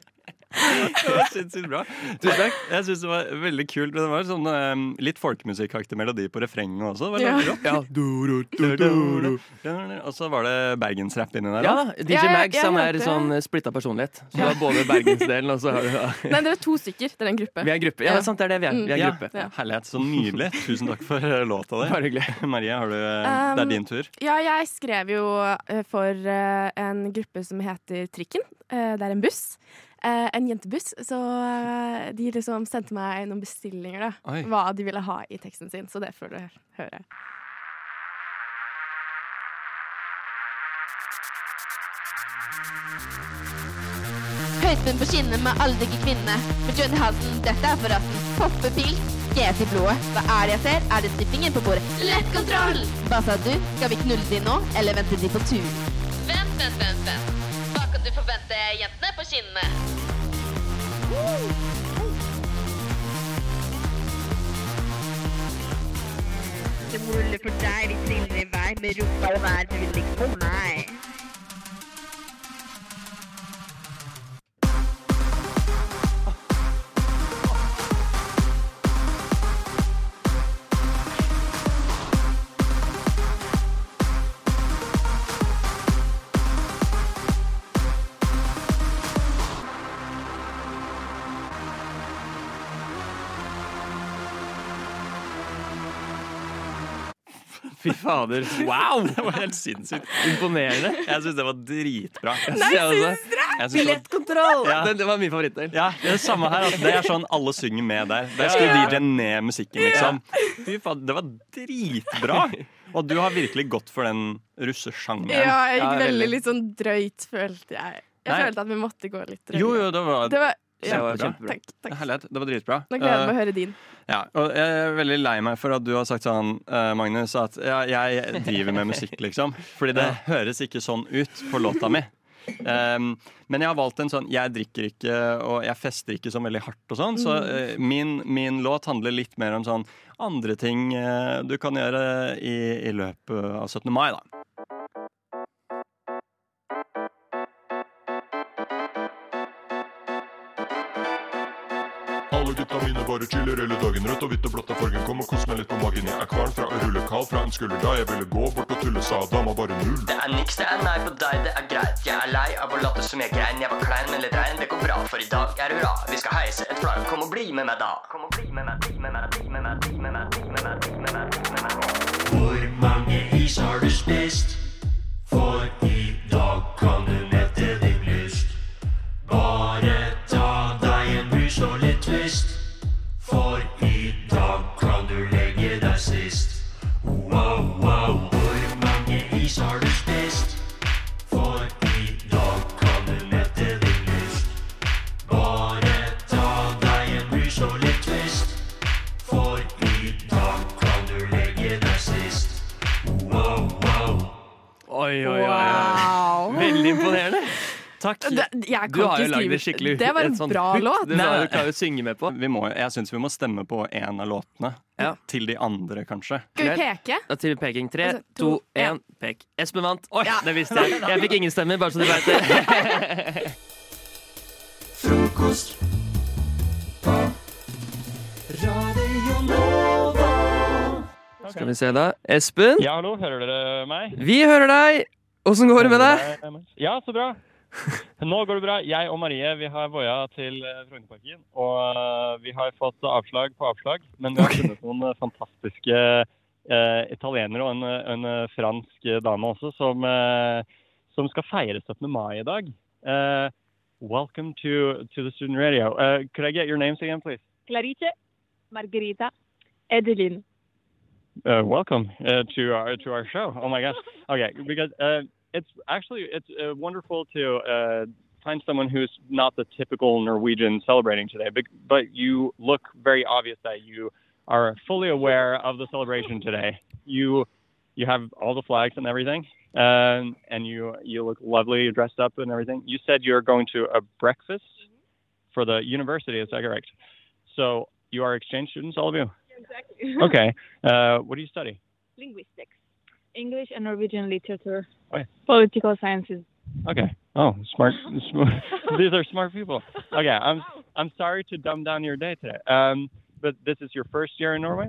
Speaker 6: Det var sinnssykt bra. Tusen takk. Jeg syns det var veldig kult. Men det var sånn eh, litt folkemusikkaktig melodi på refrenget også. Det var
Speaker 18: Ja.
Speaker 6: veldig rått.
Speaker 18: Ja.
Speaker 6: Og så var det bergensrapp inni der.
Speaker 18: Ja
Speaker 6: da.
Speaker 18: da. DJ Mag som er sånn splitta personlighet. Så det er både bergensdelen og så har du
Speaker 5: Nei, dere er to stykker. Dere er en gruppe. Mm.
Speaker 18: Vi er en gruppe. Ja, det er sant, det er det vi er. Vi er en
Speaker 6: Ja.
Speaker 18: gruppe.
Speaker 5: Ja.
Speaker 6: Herlighet. Så nydelig. Tusen takk for eh, låta di.
Speaker 18: Bare hyggelig.
Speaker 6: Marie, har du, eh,
Speaker 5: Um,
Speaker 6: det er din tur.
Speaker 5: Ja, jeg skrev jo eh, for eh, en gruppe som heter Trikken. Eh, Det er en buss. Eh, En jentebuss. Så eh, de liksom sendte meg noen bestillinger, da.
Speaker 6: Oi.
Speaker 5: Hva de ville ha i teksten sin. Så det får du høre.
Speaker 3: Høytmunn på skinnet med aldrige kvinne. Med Johnny Halsen, dette er for rassen. Poppepils, gnes i blodet. Hva er det jeg ser? Er det stippingen på bordet? Lett kontroll! Hva sa du? Skal vi knulle de nå, eller vente de på tur? Vent, vent, vent, vent. Hva kan du forvente jentene på skinnene? Det mulig for deg, vi triller i vei med rumpa og vær, men vil ikke på meg.
Speaker 18: Fy fader. Wow!
Speaker 6: Det var helt sinnssykt.
Speaker 18: Imponerende.
Speaker 6: Jeg syns det var dritbra.
Speaker 18: Nei, syns
Speaker 6: Jeg syns det var
Speaker 18: Billettkontroll! Den, den var min favorittdel.
Speaker 6: Ja, det er det samme her. Altså. Det er sånn alle synger med der. Der skulle
Speaker 18: Ja.
Speaker 6: DJ-en ned musikken, liksom. Fy faen, det var dritbra! Og du har virkelig gått for den russesjangeren.
Speaker 5: Ja, jeg gikk veldig litt sånn drøyt, følte jeg. Jeg
Speaker 6: Nei.
Speaker 5: følte at vi måtte gå litt drøyt.
Speaker 6: Jo, jo, det var,
Speaker 5: Det var- ja.
Speaker 6: kjempebra.
Speaker 5: Takk, takk.
Speaker 6: Herlighet, det var dritbra.
Speaker 5: Nå gleder jeg meg å
Speaker 6: Eh,
Speaker 5: høre din.
Speaker 6: ja, og jeg er veldig lei meg for at du har sagt sånn, eh, Magnus, at ja, jeg driver med musikk, liksom. Fordi det høres ikke sånn ut på låta mi. Um, men jeg har valgt en sånn Jeg drikker ikke og jeg fester ikke så veldig hardt og sånn. Så
Speaker 18: Mm.
Speaker 6: eh, min, min låt handler litt mer om sånn andre ting eh, du kan gjøre i, i løpet av 17. mai, da.
Speaker 21: Alle gutta mine bare chiller hele dagen. Rødt og hvitt og blått er fargen. Kom og kos meg litt på magen. Jeg er kvalm fra å rulle kald fra en skulder da jeg ville gå bort og tulle, sa dama bare null.
Speaker 9: Det er niks, det er nei på deg, det er greit. Jeg er lei av å late som jeg grein. Jeg var klein, men litt rein. Det går bra, for i dag er det hurra. Vi skal heise et flagg. Kom og bli med meg, da. Kom og bli med meg, bli med meg, bli med meg, bli med meg, bli med meg, bli med meg, bli med meg. Hvor mange is har du spist? For i dag kan du mette din lyst. Bare ta deg en brus og litt twist. For i dag kan du legge deg sist. Wow, wow, hvor mange is har du spist? For i dag kan du mette din lyst. Bare ta deg en brus og litt twist.
Speaker 18: Oi, oi, oi, oi. Veldig imponerende. Takk.
Speaker 12: Det- jeg
Speaker 18: du
Speaker 12: kan
Speaker 18: har jo
Speaker 12: ikke
Speaker 18: lagd
Speaker 12: skrive-
Speaker 18: det skikkelig
Speaker 12: Det var en
Speaker 18: et sånt
Speaker 12: bra
Speaker 18: hook.
Speaker 12: låt.
Speaker 18: Det
Speaker 12: Nei.
Speaker 18: var du klarer å synge med på.
Speaker 6: Vi må, jeg syns vi må stemme på én av låtene. Til de andre, kanskje.
Speaker 12: Skal vi peke?
Speaker 18: Da til peking. Tre,
Speaker 12: Altså,
Speaker 18: to,
Speaker 12: to,
Speaker 18: én,
Speaker 12: en.
Speaker 18: pek. Espen vant. Oi, det visste jeg. Jeg fikk ingen stemmer, bare så du vet det.
Speaker 22: Frokost på Radio Nova.
Speaker 18: Skal vi se, da. Espen,
Speaker 23: Ja, hallo, hører dere meg?
Speaker 18: vi hører deg. Åssen går det med deg?
Speaker 23: Ja, så bra. Nå går det bra. Jeg og Marie vi har voia til eh, Frognerparken. Og eh, vi har fått avslag på avslag, men vi har funnet noen eh, fantastiske eh, italienere og en, eh, en eh, fransk eh, dame også, som, eh, som skal feire 17. mai i dag. Eh, welcome to, to the student radio. Eh, could I get your names again, please?
Speaker 24: Clarice, Margherita, Edeline.
Speaker 23: Uh, welcome uh, to our to our show. Oh my gosh. Okay, because uh, it's actually it's uh, wonderful to uh, find someone who's not the typical Norwegian celebrating today, but but you look very obvious that you are fully aware of the celebration today. You you have all the flags and everything, um, and you you look lovely. You're dressed up and everything. You said you're going to a breakfast for the university. Is that correct? So you are exchange students, all of you.
Speaker 24: Exactly.
Speaker 23: Okay. Uh, what do you study?
Speaker 24: Linguistics. English and Norwegian literature.
Speaker 23: Okay.
Speaker 24: Political sciences.
Speaker 23: Okay. Oh, smart. smart. These are smart people. Okay. I'm I'm sorry to dumb down your day today. Um, but this is your first year in Norway.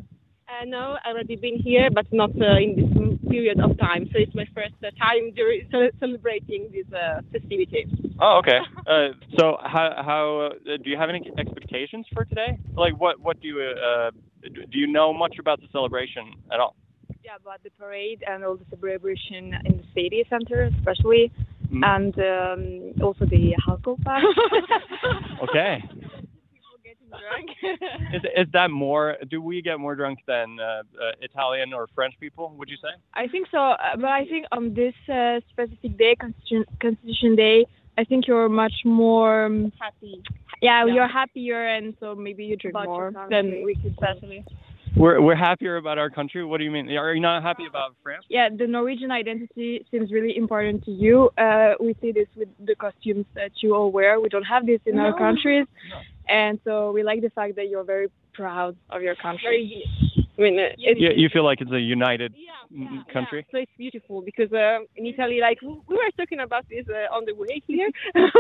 Speaker 24: Uh, no, I've already been here, but not uh, in this period of time. So it's my first uh, time during, ce- celebrating this uh, festivity.
Speaker 23: Oh, okay. Uh, so how how uh, do you have any expectations for today? Like what what do you uh, d- do you know much about the celebration at all?
Speaker 24: Yeah, about the parade and all the celebration in the city center, especially, and um, also the alcohol part.
Speaker 23: Okay.
Speaker 24: Drunk.
Speaker 23: Is is that more? Do we get more drunk than uh, uh, Italian or French people? Would you say?
Speaker 24: I think so, uh, but I think on this uh, specific day, Constitution, Constitution Day, I think you're much more um, happy. Yeah, Yeah. you're happier, and so maybe you drink About your more country, than we could possibly.
Speaker 23: We're we're happier about our country. What do you mean? Are you not happy about France?
Speaker 24: Yeah, the Norwegian identity seems really important to you. Uh, we see this with the costumes that you all wear. We don't have this in our No. countries, and so we like the fact that you're very proud of your country. I mean, uh, it's,
Speaker 23: You, you feel like it's a united m- Mm-hmm. country.
Speaker 24: So it's beautiful because uh, in Italy, like we we were talking about this uh, on the way here,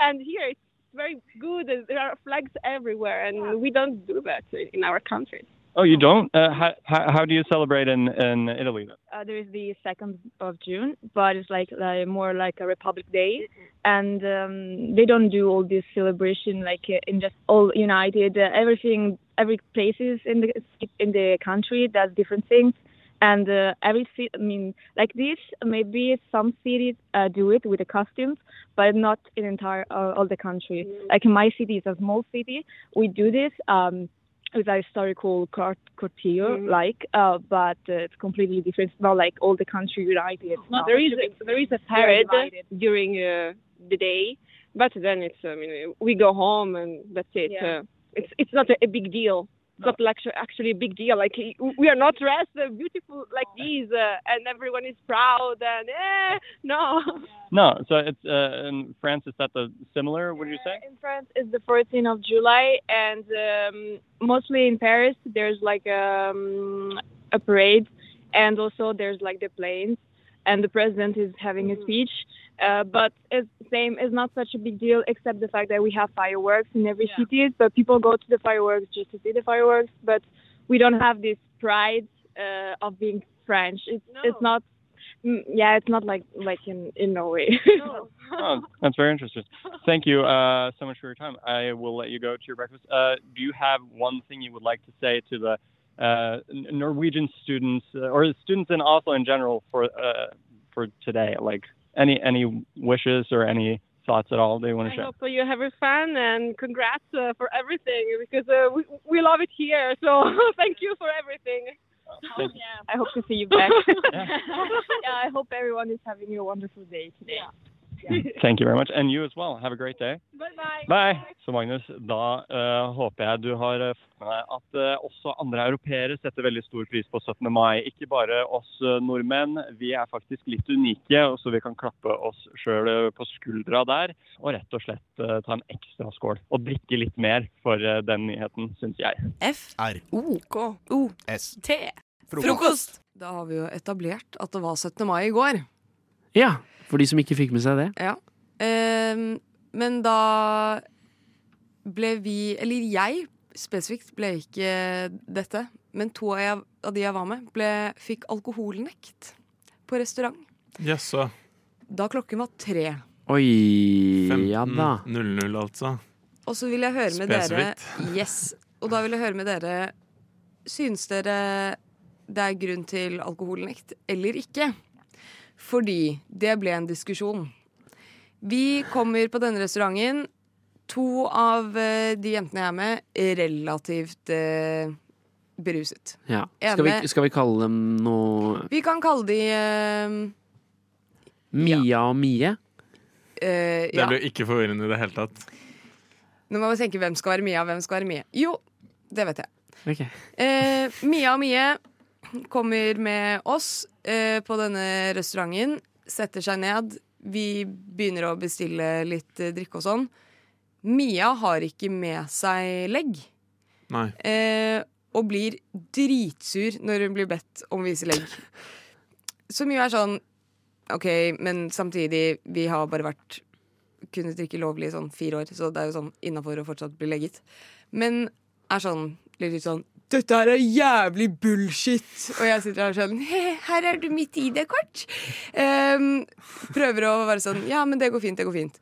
Speaker 24: and here it's very good. and There are flags everywhere, and we don't do that in our country.
Speaker 23: Oh, you don't? Uh, how, how how do you celebrate in, in Italy then?
Speaker 24: Uh, there is the second of June, but it's like, like more like a Republic Day, and um, they don't do all this celebration like uh, in just all united. Uh, everything, every places in the in the country does different things, and uh, every ci- I mean, like this, maybe some cities uh, do it with the costumes, but not in entire uh, all the country. Like my city is a small city. We do this. Um, with a historical court, courtier, like, uh, but uh, it's completely different. It's not like all the country united. No, there is a, there is a Yeah, parade divided. during uh, the day, but then it's I mean we go home and that's it. Yeah. Uh, it's it's not a, a big deal. It's not like actually a big deal. Like we are not dressed uh, beautiful like these, uh, and everyone is proud and eh, no.
Speaker 23: No, so it's uh, in France. Is that the similar? Would you say?
Speaker 24: In France, it's the 14th of July, and um, mostly in Paris, there's like um, a parade, and also there's like the planes, and the president is having a speech. Uh, but it's same, it's not such a big deal, except the fact that we have fireworks in every city, but people go to the fireworks just to see the fireworks. But we don't have this pride uh, of being French. It's it's not. mm, Yeah, it's not like like in in Norway.
Speaker 23: Oh, that's very interesting. Thank you uh, so much for your time. I will let you go to your breakfast. Uh, do you have one thing you would like to say to the uh, N- Norwegian students uh, or the students in Oslo in general for uh, for today? Like any any wishes or any thoughts at all they want to
Speaker 24: I
Speaker 23: share?
Speaker 24: hope you have a fun and congrats uh, for everything because uh, we, we love it here. So thank you for everything.
Speaker 23: Thank-
Speaker 24: I hope to see you back. yeah, I hope everyone is having a wonderful day today.
Speaker 6: Thank you very much. And you as well. Have a great day.
Speaker 24: Bye-bye.
Speaker 6: Bye. Så Magnus, da
Speaker 23: uh,
Speaker 6: eh, håper jeg du har eh, fått med deg at eh, også andre europeere setter veldig stor pris på 17. mai. Ikke bare oss eh, nordmenn. Vi er faktisk litt unike, og så vi kan klappe oss sjøl på skuldra der. Og rett og slett eh, ta en ekstra skål. Og drikke litt mer for eh, den nyheten, syns jeg.
Speaker 25: T. Frokost.
Speaker 2: Da har vi jo etablert at det var 17. mai i går.
Speaker 7: Ja, for de som ikke fikk med seg det.
Speaker 2: Ja. Ehm, men da ble vi, eller jeg spesifikt, ble ikke dette. Men to av jeg- av de jeg var med, ble, fikk alkoholnekt på restaurant.
Speaker 4: Jaså.
Speaker 2: Da klokken var tre.
Speaker 7: Oi, ja da.
Speaker 4: 15.00, altså.
Speaker 2: Og så vil jeg høre med dere
Speaker 4: Spesifikt.
Speaker 2: Yes. Og da vil jeg høre med dere Syns dere det er grunn til alkoholnekt eller ikke? Fordi det ble en diskusjon. Vi kommer på denne restauranten. To av eh, de jentene jeg er med, er relativt eh, beruset.
Speaker 7: Ja.
Speaker 2: Ene-
Speaker 7: Skal, vi, skal vi kalle dem noe
Speaker 2: Vi kan kalle de eh,
Speaker 7: Mia og Mie?
Speaker 2: eh, ja.
Speaker 4: ikke forvirrende i det hele tatt.
Speaker 2: Nå må vi tenke hvem skal være Mia, og hvem skal være Mie. Jo, det vet jeg.
Speaker 7: Ok.
Speaker 2: Eh, Mia og Mie kommer med oss eh, på denne restauranten, setter seg ned. Vi begynner å bestille litt eh, drikke og sånn. Mia har ikke med seg legg,
Speaker 4: Nei.
Speaker 2: eh, og blir dritsur når hun blir bedt om å vise legg. Som jo er sånn OK, men samtidig, vi har bare vært kunnet drikke lovlig i sånn fire år, så det er jo sånn innafor å fortsatt bli legget. Men er sånn blir litt sånn Dette her er jævlig bullshit! Og jeg sitter her og sånn «He, Her er du mitt ID-kort! Ehm, prøver å være sånn Ja, men det går fint, det går fint.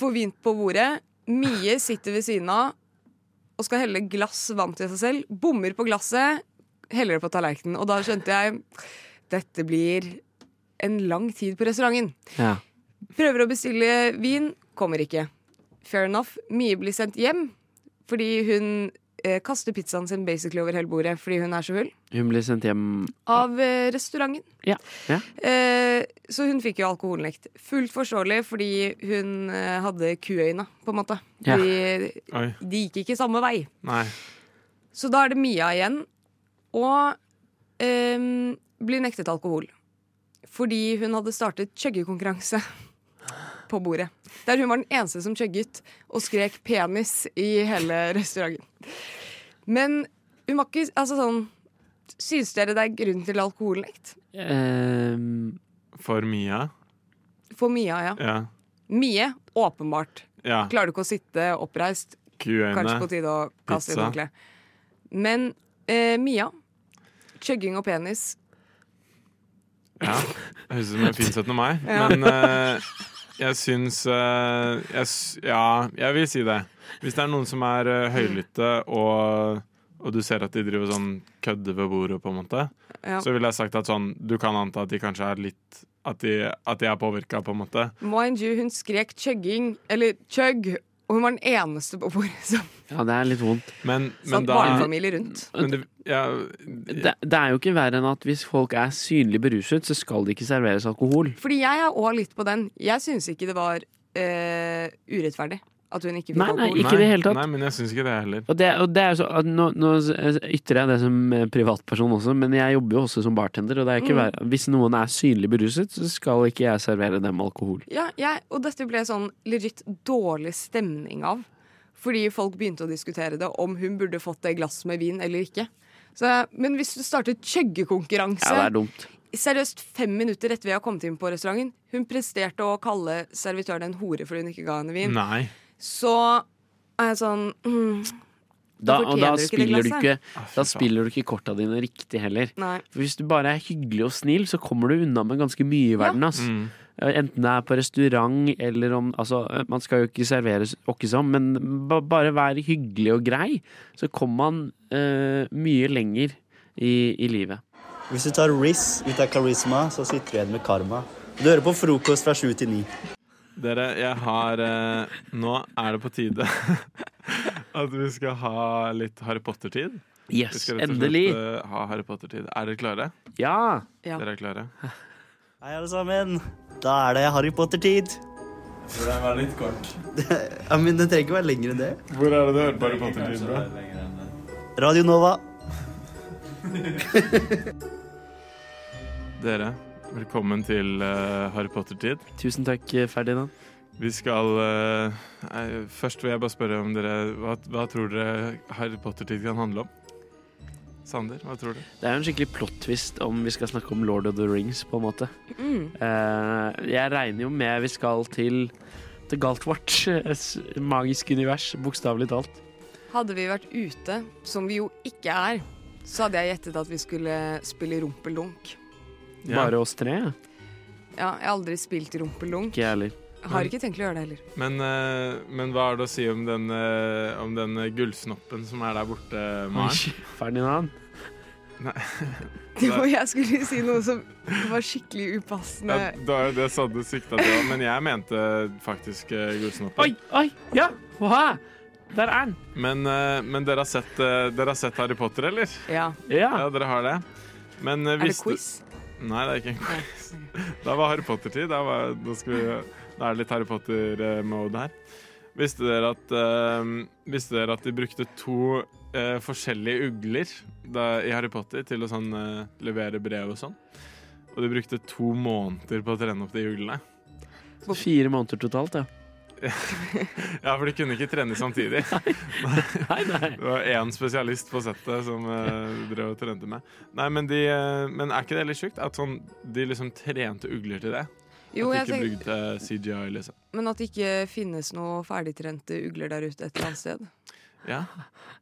Speaker 2: Får vin på bordet. Mie sitter ved siden av og skal helle glass vann til seg selv. Bommer på glasset, heller det på tallerkenen. Og da skjønte jeg dette blir en lang tid på restauranten.
Speaker 7: Ja.
Speaker 2: Prøver å bestille vin, kommer ikke. Fair enough. Mie blir sendt hjem fordi hun eh, kaster pizzaen sin basically over hele bordet fordi hun er så full.
Speaker 7: Hun ble sendt hjem
Speaker 2: Av eh, restauranten.
Speaker 7: Ja. ja.
Speaker 2: Eh, så hun fikk jo alkoholnekt. Fullt forståelig fordi hun eh, hadde kuøyne, på en måte.
Speaker 4: Ja.
Speaker 2: De,
Speaker 4: Oi.
Speaker 2: de gikk ikke samme vei.
Speaker 4: Nei.
Speaker 2: Så da er det Mia igjen. Og ehm, blir nektet alkohol. Fordi hun hadde startet chuggekonkurranse på bordet. Der hun var den eneste som chugget og skrek 'penis' i hele restauranten. Men hun var ikke Altså sånn Syns dere det er grunn til alkoholnekt?
Speaker 4: Eh.
Speaker 7: Ehm.
Speaker 4: For Mia?
Speaker 2: For Mia, ja.
Speaker 4: Ja.
Speaker 2: Mie, åpenbart.
Speaker 4: ja.
Speaker 2: Klarer du ikke å sitte oppreist,
Speaker 4: Kuøyne.
Speaker 2: kanskje på tide å kaste inn
Speaker 4: Pizza.
Speaker 2: håndkleet. Men eh, Mia, chugging og penis
Speaker 4: Ja. Det Høres ut som en fin 17. mai,
Speaker 2: Ja.
Speaker 4: men eh, jeg syns eh, jeg, s- Ja, jeg vil si det. Hvis det er noen som er eh, høylytte, og, og du ser at de driver sånn kødder ved bordet, på en måte,
Speaker 2: Ja.
Speaker 4: så ville jeg sagt at sånn Du kan anta at de kanskje er litt At de, at de er påvirka, på en måte.
Speaker 2: Mind you, hun skrek chugging, eller chug, og hun var den eneste på bordet som
Speaker 7: Ja, det er litt vondt.
Speaker 4: Men,
Speaker 2: satt barnefamilie rundt.
Speaker 7: det, det er jo ikke verre enn at hvis folk er synlig beruset, så skal det ikke serveres alkohol.
Speaker 2: Fordi jeg er òg litt på den. Jeg syns ikke det var eh, urettferdig at hun ikke fikk
Speaker 7: Nei, nei,
Speaker 2: alkohol.
Speaker 7: ikke i det hele tatt.
Speaker 4: Nei, men jeg syns ikke det heller.
Speaker 7: Og det, og det er jo så, at nå, nå ytrer jeg det som eh, privatperson også, men jeg jobber jo også som bartender. Og det er ikke
Speaker 2: Mm.
Speaker 7: verre. Hvis noen er synlig beruset, så skal ikke jeg servere dem alkohol.
Speaker 2: Ja, jeg, og dette ble sånn legit dårlig stemning av. Fordi folk begynte å diskutere det, om hun burde fått det glasset med vin eller ikke. Så, jeg- men hvis du startet chuggekonkurranse
Speaker 7: Ja, det er dumt.
Speaker 2: Seriøst, fem minutter etter vi har kommet inn på restauranten Hun presterte å kalle servitøren en hore fordi hun ikke ga henne vin.
Speaker 4: Nei.
Speaker 2: Så er jeg sånn mm,
Speaker 7: Da, og da
Speaker 2: fortjener ikke det
Speaker 7: spiller, du ikke,
Speaker 2: glasset.
Speaker 7: da spiller du ikke korta dine riktig heller.
Speaker 2: Nei.
Speaker 7: For hvis du bare er hyggelig og snill, så kommer du unna med ganske mye i verden. Ass. Enten det er på restaurant eller om altså, Man skal jo ikke servere åkke som, men ba, bare vær hyggelig og grei, så kommer man eh, mye lenger i, i livet.
Speaker 26: Hvis du tar Riz ut av karisma, så sitter du igjen med karma. Du hører på frokost fra sju til ni.
Speaker 4: Dere, jeg har eh, Nå er det på tide at vi skal ha litt Harry Potter-tid.
Speaker 7: Yes,
Speaker 4: vi skal rett og slett
Speaker 7: endelig.
Speaker 4: eh, ha Harry Potter-tid. Er dere klare?
Speaker 7: Ja!
Speaker 2: Ja.
Speaker 4: Dere er klare?
Speaker 26: Hei, alle sammen. Da er det Harry Potter-tid.
Speaker 6: Den var litt kort.
Speaker 26: Ja, men det trenger ikke være lenger enn det.
Speaker 6: Hvor er det du hører på Harry Potter-tid fra?
Speaker 26: Radio Nova.
Speaker 4: Dere, velkommen til eh, Harry Potter-tid.
Speaker 7: Tusen takk, eh, Ferdinand.
Speaker 4: Vi skal eh, nei, Først vil jeg bare spørre om dere Hva, hva tror dere Harry Potter-tid kan handle om? Sander, hva tror du?
Speaker 7: Det er jo en skikkelig plot-twist om vi skal snakke om Lord of the Rings, på en måte.
Speaker 4: Mm.
Speaker 7: Eh, jeg regner jo med vi skal til til Galtvort. Et magisk univers, bokstavelig talt.
Speaker 2: Hadde vi vært ute, som vi jo ikke er, så hadde jeg gjettet at vi skulle spille rumpeldunk.
Speaker 7: Bare oss tre? ja.
Speaker 2: Ja, jeg har aldri spilt rumpeldunk.
Speaker 7: Ikke jeg heller.
Speaker 2: Jeg har ikke tenkt å gjøre det heller.
Speaker 4: Men, eh, men hva er det å si om den, eh, om den gullsnoppen som er der borte,
Speaker 7: Oi,
Speaker 4: Maren?
Speaker 7: Ferdinand?
Speaker 4: Nei.
Speaker 2: Det var jeg skulle si noe som var skikkelig upassende.
Speaker 4: Ja, det var jo det Sande sikta til, men jeg mente faktisk eh, gullsnoppen.
Speaker 7: Oi! Ja! Hva? Der er den!
Speaker 4: Men, eh, men dere, har sett, eh, dere har sett Harry Potter, eller?
Speaker 2: Ja.
Speaker 4: Ja, dere har det. Men, eh,
Speaker 2: Er det
Speaker 4: visste-
Speaker 2: quiz?
Speaker 4: Nei, det er ikke en quiz. Da var Harry Potter-tid. Da, var, da, skal vi- da er det litt Harry Potter-mode her. Visste dere, at, eh, visste dere at de brukte to eh, forskjellige ugler da, i Harry Potter til å sånn, eh, levere brev og sånn? Og de brukte to måneder på å trene opp de uglene.
Speaker 7: Så Fire måneder totalt, ja.
Speaker 4: Ja, for de kunne ikke trene samtidig. Nei, nei. Det var én spesialist på settet som eh, drev og trente med. Nei, men, de, eh, men er ikke det litt sjukt at sånn, de liksom trente ugler til det?
Speaker 2: Jo,
Speaker 4: at de ikke
Speaker 2: jeg
Speaker 4: brukte CGI, liksom.
Speaker 2: Men at det ikke finnes noe ferdigtrente ugler der ute et eller annet sted.
Speaker 4: Ja.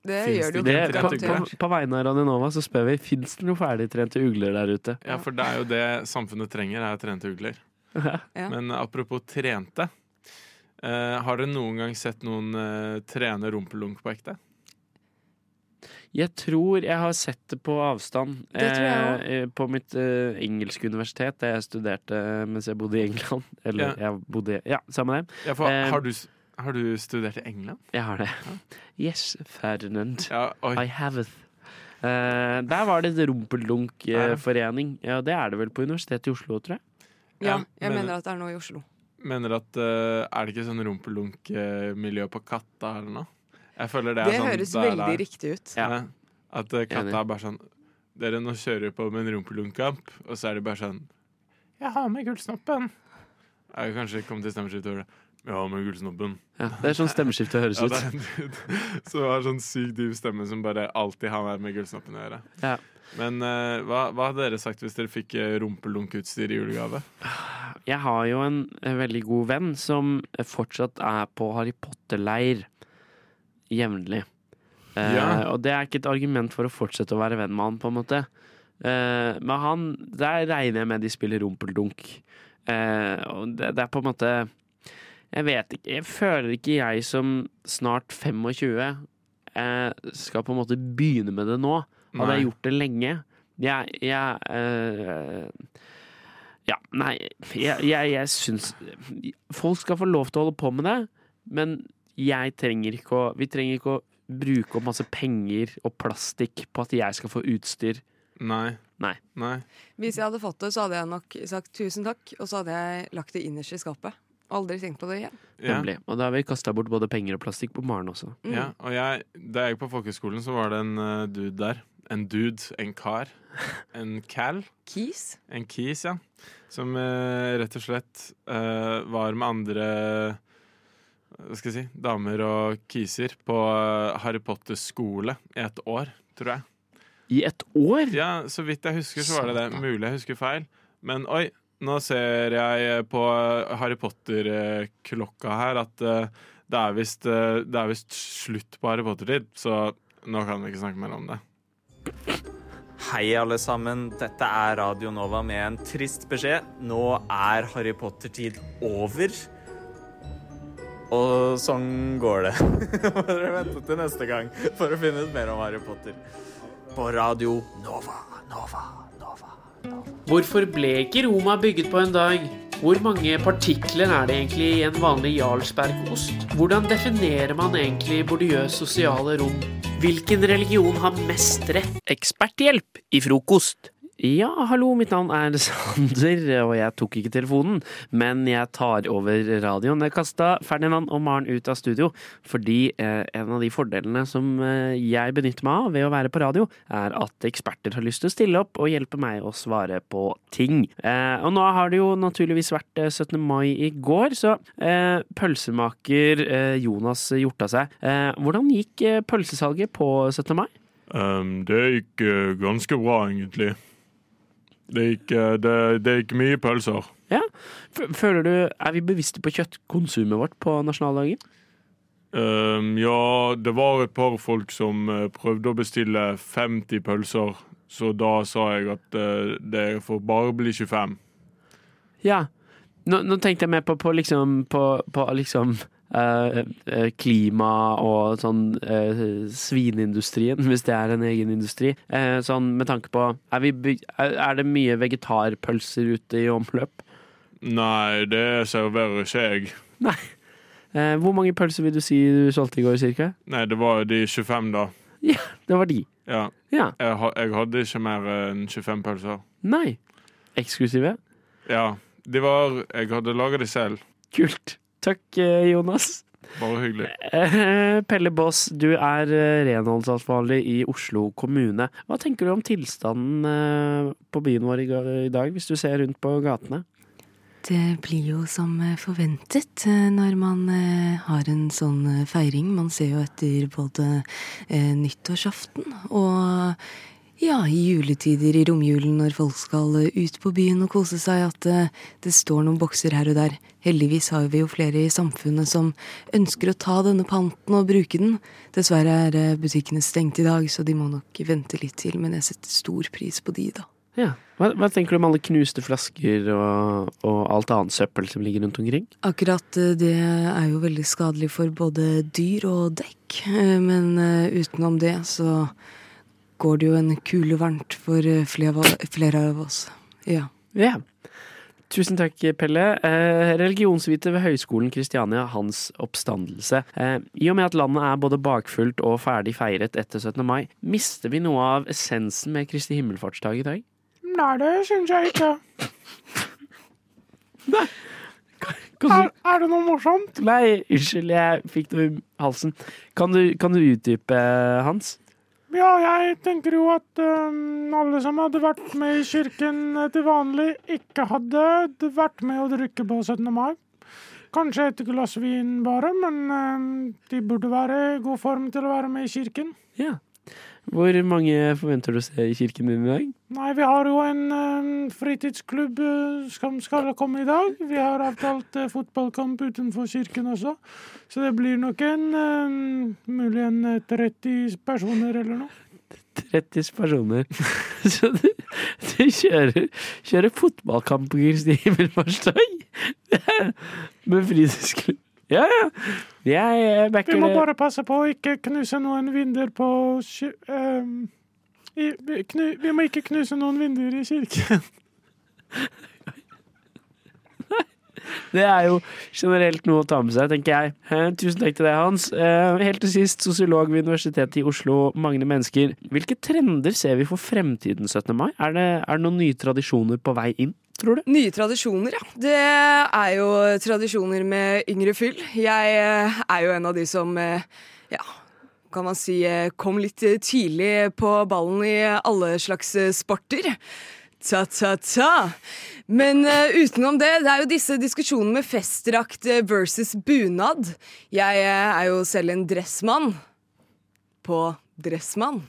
Speaker 2: Det
Speaker 4: Finnes
Speaker 2: gjør det jo
Speaker 4: det
Speaker 2: ikke.
Speaker 4: ikke?
Speaker 7: på,
Speaker 4: trente
Speaker 7: på,
Speaker 4: ugler.
Speaker 7: på vegne av Radionova så spør vi Fins det noen ferdigtrente ugler der ute.
Speaker 4: ja, for det er jo det samfunnet trenger, er trente ugler.
Speaker 7: Ja.
Speaker 4: Men apropos trente. eh, har dere noen gang sett noen eh, trene rumpelunk på ekte?
Speaker 7: Jeg tror jeg har sett det på avstand.
Speaker 4: Det tror jeg
Speaker 7: Eh, eh, på mitt eh, engelske universitet, der jeg studerte eh, mens jeg bodde i England. Eller
Speaker 4: Ja.
Speaker 7: jeg bodde Ja, samme det.
Speaker 4: Ja, for,
Speaker 7: Eh,
Speaker 4: har, du, s- har du studert i England?
Speaker 7: Jeg har det. Yes, Ferdinand.
Speaker 4: oi.
Speaker 7: I have it. Eh, der var det rumpeldunk-forening. Ja, det er det vel på Universitetet i Oslo, tror jeg.
Speaker 2: Ja,
Speaker 4: Ja,
Speaker 2: jeg
Speaker 4: men-
Speaker 2: mener at det er noe i Oslo.
Speaker 4: mener at eh, Er det ikke sånn rumpelunk-miljø på Katta eller noe? Jeg føler det er
Speaker 2: Det
Speaker 4: sånn
Speaker 2: høres
Speaker 4: der
Speaker 2: veldig
Speaker 4: er.
Speaker 2: riktig ut.
Speaker 4: Ja. At eh,
Speaker 7: Enig.
Speaker 4: Katta er bare sånn Dere, nå kjører vi på med en rumpelunk-kamp, og så er de bare sånn Jeg har med gullsnoppen. Jeg har kanskje kommet til stemmeskiftet over det. Jeg har med gullsnoppen.
Speaker 7: Ja, det er sånn stemmeskifte høres
Speaker 4: Ja,
Speaker 7: ut.
Speaker 4: det er en dude som har sånn sykt dyp stemme som bare alltid har mer med gullsnoppen å gjøre.
Speaker 7: Ja.
Speaker 4: Men eh, hva, hva hadde dere sagt hvis dere fikk eh, rumpelunkutstyr i julegave?
Speaker 7: Jeg har jo en eh, veldig god venn som eh, fortsatt er på Harry Potter-leir jevnlig. Eh,
Speaker 4: Ja.
Speaker 7: Og det er ikke et argument for å fortsette å være venn med han, på en måte. Eh, men han Der regner jeg med de spiller rumpeldunk. Eh, og det, det er på en måte Jeg vet ikke Jeg føler ikke jeg som snart 25 eh, skal på en måte begynne med det nå. Hadde
Speaker 4: Nei.
Speaker 7: jeg gjort det lenge Jeg, jeg eh, ja, nei, jeg, jeg, jeg syns Folk skal få lov til å holde på med det, men jeg trenger ikke å Vi trenger ikke å bruke opp masse penger og plastikk på at jeg skal få utstyr.
Speaker 4: Nei.
Speaker 7: Nei.
Speaker 4: Nei.
Speaker 2: Hvis jeg hadde fått det, så hadde jeg nok sagt tusen takk, og så hadde jeg lagt det innerst i skapet. Aldri tenkt på det igjen.
Speaker 7: Nemlig. Og da har vi kasta bort både penger og plastikk på Maren også.
Speaker 4: Ja, og jeg, da jeg gikk på folkehøyskolen, så var det en eh, dude der. En dude, en kar, en cal.
Speaker 2: Kis?
Speaker 4: En kis, ja. Som eh, rett og slett eh, var med andre hva skal jeg si, damer og kiser på eh, Harry Potter-skole i et år, tror jeg.
Speaker 7: I et år?
Speaker 4: Ja, så vidt jeg husker, så var det det. Mulig jeg husker feil. Men oi, nå ser jeg på Harry Potter-klokka her at eh, det er visst eh, det er visst slutt på Harry Potter-tid, så nå kan vi ikke snakke mer om det.
Speaker 6: Hei, alle sammen. Dette er Radio Nova med en trist beskjed. Nå er Harry Potter-tid over. Og sånn går det. Må dere vente til neste gang for å finne ut mer om Harry Potter. På Radio Nova.
Speaker 7: Hvorfor ble ikke Roma bygget på en dag? Hvor mange partikler er det egentlig i en vanlig Jarlsbergost? Hvordan definerer man egentlig bordiøs sosiale rom? Hvilken religion har mest rett? Eksperthjelp i frokost. Ja, hallo, mitt navn er Sander, og jeg tok ikke telefonen, men jeg tar over radioen. Jeg kasta Ferdinand og Maren ut av studio, fordi eh, en av de fordelene som eh, jeg benytter meg av ved å være på radio, er at eksperter har lyst til å stille opp og hjelpe meg å svare på ting. Eh, og nå har det jo naturligvis vært eh, 17. mai i går, så eh, pølsemaker eh, Jonas Hjorta seg. Eh, hvordan gikk eh, pølsesalget på 17. mai?
Speaker 8: Ehm, det gikk eh, ganske bra, egentlig. Det gikk, eh, det, det gikk mye pølser.
Speaker 7: Ja. F- Føler du, Er vi bevisste på kjøttkonsumet vårt på nasjonaldagen?
Speaker 8: Ehm, ja, det var et par folk som eh, prøvde å bestille 50 pølser, så da sa jeg at eh, det får bare bli 25.
Speaker 7: Ja. Nå, nå tenkte jeg mer på, på liksom, på, på liksom eh, eh, klima og sånn eh, svineindustrien, hvis det er en egen industri. Eh, sånn med tanke på er, vi, by- er er det mye vegetarpølser ute i omløp?
Speaker 8: Nei, det serverer ikke jeg.
Speaker 7: Nei. Eh, hvor mange pølser vil du si du solgte i går, cirka?
Speaker 8: Nei, det var jo de 25, da.
Speaker 7: Ja, det var de.
Speaker 8: Ja.
Speaker 7: Ja.
Speaker 8: Jeg, ha- jeg hadde ikke mer enn 25 pølser.
Speaker 7: Nei. Eksklusive?
Speaker 8: Ja. De var Jeg hadde laga de selv.
Speaker 7: Kult. Takk, eh, Jonas.
Speaker 8: Bare hyggelig.
Speaker 7: Eh, Pelle Båss, du er eh, renholdsansvarlig i Oslo kommune. Hva tenker du om tilstanden eh, på byen vår i ga- i dag, hvis du ser rundt på gatene?
Speaker 5: Det blir jo som eh, forventet eh, når man eh, har en sånn eh, feiring. Man ser jo etter både eh, nyttårsaften og ja, i juletider, i romjulen, når folk skal eh, ut på byen og kose seg, at eh, det står noen bokser her og der. Heldigvis har vi jo flere i samfunnet som ønsker å ta denne panten og bruke den. Dessverre er eh, butikkene stengt i dag, så de må nok vente litt til, men jeg setter stor pris på de, da.
Speaker 7: Ja. Hva, hva tenker du om alle knuste flasker og, og alt annet søppel som ligger rundt omkring?
Speaker 5: Akkurat eh, det er jo veldig skadelig for både dyr og dekk, eh, men eh, utenom det så går det jo en kule varmt for eh, flere av- flere av oss. Ja.
Speaker 7: Ja. Tusen takk, Pelle. Eh, religionsvite ved Høgskolen Kristiania, hans oppstandelse. Eh, I og med at landet er både bakfullt og ferdig feiret etter 17. mai, mister vi noe av essensen med Kristi himmelfartsdag i dag?
Speaker 27: Nei, det syns jeg ikke.
Speaker 7: Er,
Speaker 27: det noe morsomt?
Speaker 7: Nei, unnskyld, jeg fikk det i halsen. Kan du, kan du utdype, Hans?
Speaker 27: Ja, jeg tenker jo at øhm, alle som hadde vært med i kirken til vanlig, ikke hadde vært med å drikke på 17. mai. Kanskje et glass vin bare, men øhm, de burde være i god form til å være med i kirken.
Speaker 7: Ja. Hvor mange forventer du å se i kirken din i dag?
Speaker 27: Nei, vi har jo en øhm, fritidsklubb øh, som skal komme i dag. Vi har avtalt øh, fotballkamp utenfor kirken også. Så det blir nok en øhm, mulig en øh, 30 personer eller noe.
Speaker 7: 30 personer. Så du, du kjører, kjører fotballkamp på Kristi himmelfartsdag? Det er- Med fritidsklubb? Ja, ja. Jeg eh, backer
Speaker 27: Vi må
Speaker 7: det.
Speaker 27: bare passe på å ikke knuse noen vinduer på ki- ehm, i, vi, knu, vi må ikke knuse noen vinduer i kirken.
Speaker 7: Det er jo generelt noe å ta med seg, tenker jeg. Eh, Tusen takk til deg, Hans. Eh, Helt til sist, sosiolog ved Universitetet i Oslo, Magne Mennesker. Hvilke trender ser vi for fremtiden 17. mai? Er det, er det noen nye tradisjoner på vei inn? Tror du?
Speaker 2: Nye tradisjoner, ja. Det er jo tradisjoner med yngre fyll. Jeg eh, er jo en av de som, eh, ja, kan man si, eh, kom litt eh, tidlig på ballen i alle slags eh, sporter. Ta, ta, ta. Men eh, utenom det, det er jo disse diskusjonene med festdrakt eh, versus bunad. Jeg eh, er jo selv en dressmann på Dressmann.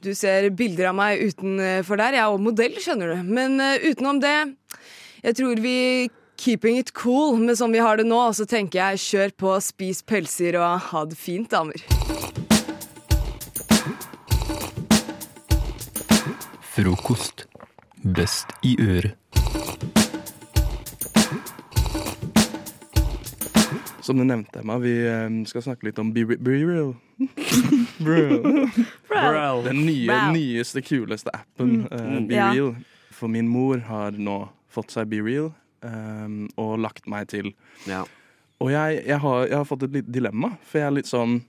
Speaker 2: Du ser bilder av meg utenfor der. Jeg er også modell, skjønner du. Men eh, utenom det, jeg tror vi keeping it cool med sånn vi har det nå. Og så tenker jeg kjør på, spis pølser og ha det fint, damer.
Speaker 13: Frokost. Best i øret.
Speaker 14: Som du nevnte, Emma, vi eh, skal snakke litt om Be, Re- Be Real. Bro.
Speaker 27: Bro.
Speaker 14: Den nye,
Speaker 27: Bro.
Speaker 14: nyeste, kuleste appen,
Speaker 27: Mm.
Speaker 14: eh, Be
Speaker 27: Ja.
Speaker 14: Real. For min mor har nå fått seg Be Real eh, og lagt meg til. Og jeg, jeg, har, jeg har fått et litt dilemma, for jeg er litt sånn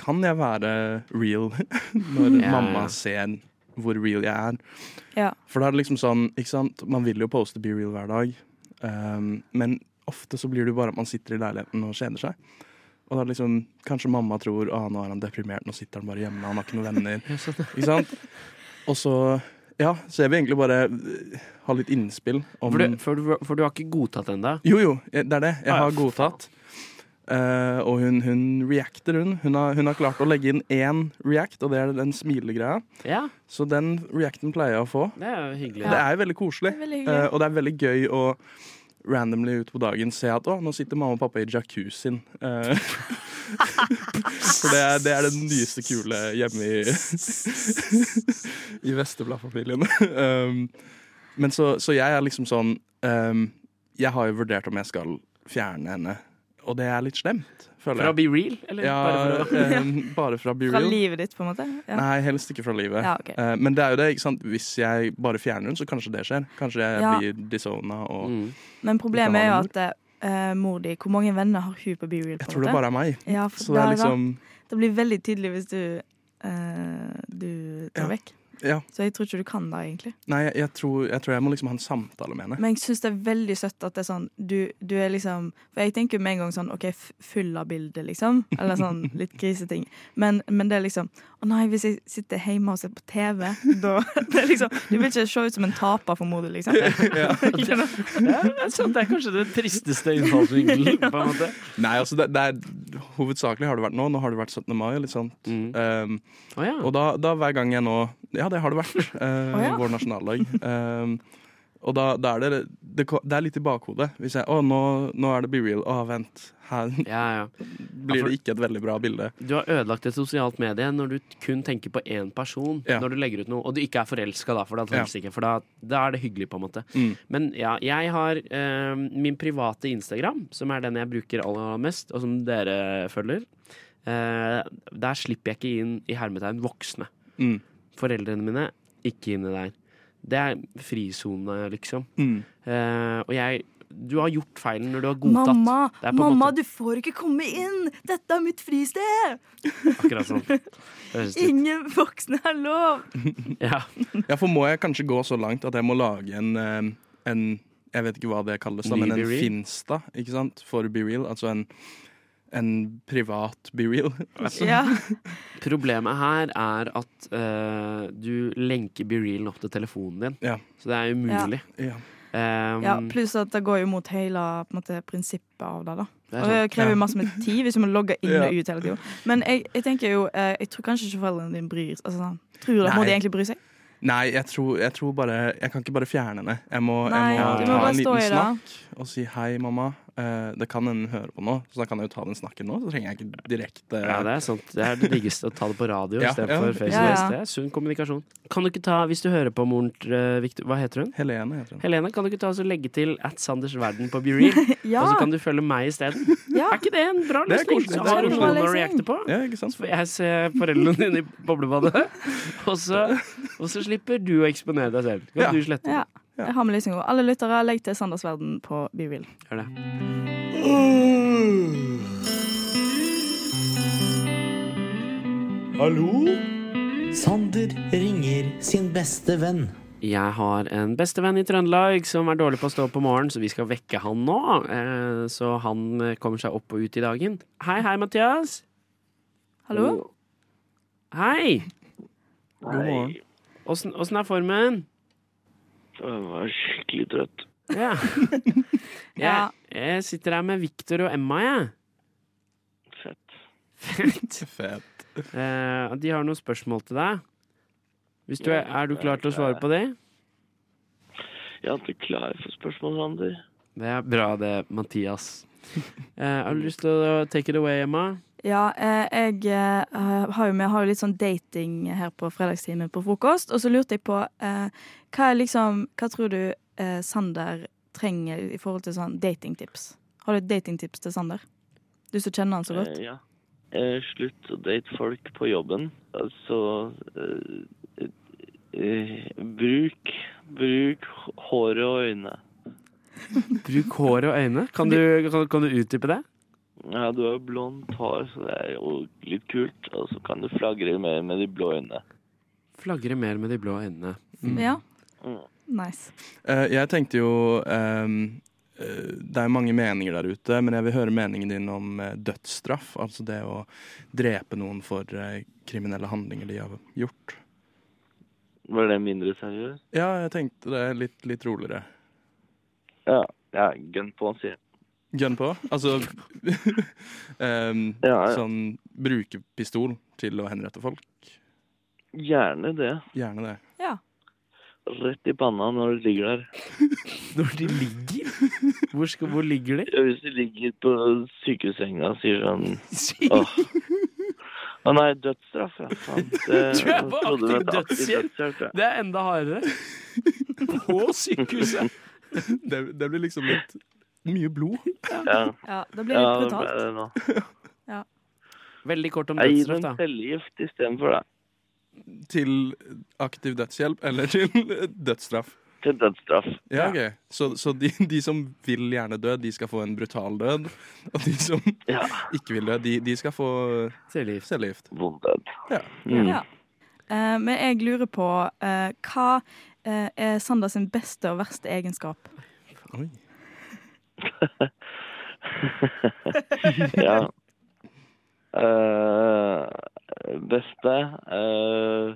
Speaker 14: Kan jeg være real når
Speaker 13: Ja.
Speaker 14: mamma ser hvor real jeg er.
Speaker 1: Ja.
Speaker 14: For da er det liksom sånn, ikke sant, man vil jo poste Be Real hver dag, ehm, men ofte så blir det jo bare at man sitter i leiligheten og kjeder seg. Og da er det liksom, kanskje mamma tror ah, nå er han deprimert, nå sitter han bare hjemme, han har ikke noen venner. ikke sant? Og så, ja, så jeg vil egentlig bare eh, ha litt innspill om
Speaker 7: For du, for, du, for du har ikke godtatt ennå?
Speaker 14: jo, jo, jeg- det er det. Jeg
Speaker 7: Ah, ja,
Speaker 14: har godtatt. Eh, og hun, hun reacter, hun. Hun har, hun har klart å legge inn én react, og det er den smilegreia.
Speaker 7: Ja.
Speaker 14: Så den reacten pleier jeg å få.
Speaker 7: Det er jo hyggelig.
Speaker 14: Det er jo veldig koselig.
Speaker 7: Det er veldig hyggelig.
Speaker 14: Eh, og det er veldig gøy å randomly ut på dagen se at å, nå sitter mamma og pappa i jacuzzien. Eh, for det er, det er det nyeste kule hjemme i I Vesteblad-familien. um, men så, så jeg er liksom sånn um, Jeg har jo vurdert om jeg skal fjerne henne, og det er litt slemt, føler jeg.
Speaker 7: Fra Be Real, eller
Speaker 14: Ja,
Speaker 7: bare fra-
Speaker 14: um, bare fra Be
Speaker 1: Fra
Speaker 14: Real.
Speaker 1: livet ditt, på en måte? Ja.
Speaker 14: Nei, helst ikke fra livet.
Speaker 1: Ja, ok.
Speaker 14: Eh, men det er jo det, ikke sant? hvis jeg bare fjerner den, så kanskje det skjer. Kanskje jeg
Speaker 1: Ja.
Speaker 14: blir disona og
Speaker 1: Men problemet er jo
Speaker 14: Ikke
Speaker 1: at eh, mor di Hvor mange venner har hun på BeReal?
Speaker 14: Jeg tror det bare er meg.
Speaker 1: Ja, for
Speaker 14: Så det er
Speaker 1: da-
Speaker 14: liksom-
Speaker 1: da, det blir veldig tydelig hvis du, eh, du tar vekk.
Speaker 14: Ja.
Speaker 1: Så jeg tror ikke du kan det, egentlig.
Speaker 14: Nei, jeg, jeg, tror, jeg tror jeg må liksom ha en samtale med henne.
Speaker 1: Men jeg syns det er veldig søtt at det er sånn du, du er liksom For jeg tenker jo med en gang sånn OK, f- full av bilder, liksom. Eller sånn litt griseting. Men, men det er liksom Å nei, hvis jeg sitter hjemme og ser på TV, da det er liksom, Du vil ikke se ut som en taper for mor di, liksom.
Speaker 14: Ja.
Speaker 7: sånn, det er kanskje den tristeste innfallsvinkelen, på en måte.
Speaker 14: Nei, altså det, det er, Hovedsakelig har det vært nå. Nå har det vært 17. mai. og Litt sånt.
Speaker 7: Mm.
Speaker 14: Um, Og da, da hver gang jeg nå Ja, det har det vært. Uh,
Speaker 27: Å ja.
Speaker 14: Vår nasjonaldag. Um, og da, da er det, det ko- Det er litt i bakhodet. Hvis jeg Å, nå, nå er det be real. Å, vent. Her
Speaker 7: Ja,
Speaker 14: blir
Speaker 7: for-
Speaker 14: det ikke et veldig bra bilde.
Speaker 7: Du har ødelagt et sosialt medie når du kun tenker på én person når du legger ut noe, og du ikke er forelska da, for, da,
Speaker 14: Ja.
Speaker 7: helst ikke, for da, da er det hyggelig, på en måte.
Speaker 14: Mm.
Speaker 7: Men ja, jeg har eh, min private Instagram, som er den jeg bruker aller mest, og som dere følger. Eh, der slipper jeg ikke inn i hermetegn voksne.
Speaker 14: Mm.
Speaker 7: Foreldrene mine ikke inne der. Det er frisone, liksom.
Speaker 14: Mm.
Speaker 7: Eh, og jeg Du har gjort feilen når du har godtatt.
Speaker 1: Mamma,
Speaker 7: Det er på en
Speaker 1: mamma,
Speaker 7: måte
Speaker 1: du får ikke komme inn! Dette er mitt fristed!
Speaker 7: Akkurat sånn. Det høres ut.
Speaker 1: Ingen voksne er lov!
Speaker 7: Ja.
Speaker 14: for må jeg kanskje gå så langt at jeg må lage en, eh, en Jeg vet ikke hva det kalles, da,
Speaker 7: Ny
Speaker 14: men
Speaker 7: Be
Speaker 14: en
Speaker 7: Real?
Speaker 14: Finsta ikke sant? for Be Real. Altså en, en privat Be Real. Altså.
Speaker 7: Problemet her er at eh, du lenker BeRealen opp til telefonen din, så det er umulig.
Speaker 14: Ja.
Speaker 7: Um,
Speaker 1: Ja, Pluss at det går jo mot hele på en måte, prinsippet av det. da
Speaker 7: Det er
Speaker 1: Og det
Speaker 7: sant.
Speaker 1: krever
Speaker 7: Ja.
Speaker 1: jo masse med tid hvis du må logge inn
Speaker 7: Ja.
Speaker 1: og ut hele tida. Men jeg, jeg tenker jo eh, Jeg tror kanskje ikke foreldrene dine bryr seg. Altså, sånn. tror du at
Speaker 14: Nei.
Speaker 1: må de egentlig bry seg?
Speaker 14: Nei, jeg tror, jeg tror bare Jeg kan ikke bare fjerne henne. Jeg må,
Speaker 1: Nei,
Speaker 14: jeg må
Speaker 1: du må
Speaker 14: ta
Speaker 1: bare
Speaker 14: en
Speaker 1: stå
Speaker 14: liten
Speaker 1: i det.
Speaker 14: snakk og si 'hei, mamma'. Eh, det kan hende hun hører på nå, så da kan jeg jo ta den snakken nå. Så trenger jeg ikke direkte
Speaker 7: Ja, det er sant. Det er det diggeste å ta det på radio
Speaker 14: Ja,
Speaker 7: istedenfor
Speaker 14: ja.
Speaker 7: Facebook.
Speaker 14: Ja, ja.
Speaker 7: Det er sunn kommunikasjon. Kan du ikke ta, hvis du hører på moren til eh, Victor, Hva heter hun?
Speaker 14: Helene heter hun.
Speaker 7: Helene, kan du ikke ta oss og legge til at Sanders Verden på BeReal?
Speaker 14: Ja.
Speaker 7: Og så kan du følge meg isteden?
Speaker 1: Er
Speaker 7: ikke det en bra
Speaker 14: Det er
Speaker 7: løsning?
Speaker 14: koselig.
Speaker 7: Så
Speaker 14: Det er
Speaker 7: har du
Speaker 14: kjempebra
Speaker 7: noen å
Speaker 14: løsning.
Speaker 7: reacte på.
Speaker 14: Ja, ikke sant?
Speaker 7: Så får jeg se foreldrene dine i boblebadet, og så, og så slipper du å eksponere deg selv. Kan
Speaker 1: Ja.
Speaker 7: du slette det?
Speaker 1: Ja. Jeg har med løsninga. Alle lyttere, legg til Sanders Verden på Be Real.
Speaker 7: Gjør det.
Speaker 11: Hallo? Sander ringer sin beste venn.
Speaker 7: Jeg har en bestevenn i Trøndelag som er dårlig på å stå opp om morgenen, så vi skal vekke han nå. eh, Så han eh, kommer seg opp og ut i dagen. Hei, hei, Mathias.
Speaker 1: Hallo?
Speaker 7: Hei.
Speaker 22: God morgen.
Speaker 7: Åssen åssen er formen?
Speaker 22: Jeg var skikkelig trøtt.
Speaker 7: Ja. Jeg, jeg sitter her med Victor og Emma, jeg. Fett.
Speaker 14: Fett.
Speaker 7: Eh, de har noen spørsmål til deg. Hvis du
Speaker 22: Ja,
Speaker 7: er, er du klar til å
Speaker 22: jeg er
Speaker 7: svare på det?
Speaker 22: Jeg er ikke klar for spørsmål, Sander.
Speaker 7: Det er bra, det, Mathias. Eh, har du lyst til å take it away, Emma?
Speaker 1: Ja, eh, jeg eh, har jo, vi har jo litt sånn dating her på fredagstimen på frokost. Og så lurte jeg på eh, hva, er liksom, hva tror du eh, Sander trenger i forhold til sånn datingtips? Har du et datingtips til Sander? Du som kjenner han så godt.
Speaker 22: Eh, ja. Eh, slutt å date folk på jobben. Altså eh, eh, Bruk Bruk håret og øynene.
Speaker 7: Bruk hår og øyne. Kan du, kan, kan du utdype det?
Speaker 22: Ja, du har jo blondt hår, så det er jo litt kult. Og så kan du flagre mer med de blå øynene.
Speaker 7: Flagre mer med de blå øynene.
Speaker 14: Mm.
Speaker 1: Ja. Nice.
Speaker 14: Eh, jeg tenkte jo ehm, eh, Det er mange meninger der ute, men jeg vil høre meningen din om eh, dødsstraff. Altså det å drepe noen for eh, kriminelle handlinger de har gjort.
Speaker 22: Var det mindre seriøst?
Speaker 14: Ja, jeg tenkte det er litt, litt roligere.
Speaker 22: Ja. ja Gun på, sier jeg.
Speaker 14: Gun på? Altså ehm, sånn bruke pistol til å henrette folk?
Speaker 22: Gjerne det.
Speaker 14: Gjerne det.
Speaker 22: Rett i panna når du ligger der.
Speaker 7: Når de ligger? Hvor, skal, hvor ligger de?
Speaker 22: Ja, Hvis du ligger på sykehussenga og sier sånn Åh. Å nei, dødsstraff, ja. Faen. Det-
Speaker 7: Du er på
Speaker 22: jeg trodde det
Speaker 7: aktiv
Speaker 22: var
Speaker 7: dødshjelp!
Speaker 22: ja.
Speaker 7: Det er enda hardere. På sykehuset.
Speaker 14: Det, det blir liksom litt mye blod.
Speaker 22: Ja.
Speaker 1: Ja, det blir litt
Speaker 22: Ja,
Speaker 1: brutalt.
Speaker 22: det ble det nå.
Speaker 7: Veldig kort om
Speaker 22: Jeg gir
Speaker 7: dødsstraff,
Speaker 22: dem
Speaker 7: da.
Speaker 22: cellegift istedenfor det.
Speaker 14: Til aktiv dødshjelp eller til dødsstraff?
Speaker 22: Til dødsstraff.
Speaker 14: Ja, ok. Så, så de, de som vil gjerne dø, de skal få en brutal død. Og de som ikke vil dø, de, de skal få
Speaker 7: cellegift.
Speaker 22: Vond død.
Speaker 14: Ja.
Speaker 22: Mm.
Speaker 1: Ja. Eh, men jeg lurer på eh, hva eh, er Sander sin beste og verste egenskap?
Speaker 22: ja. Eh, beste eh,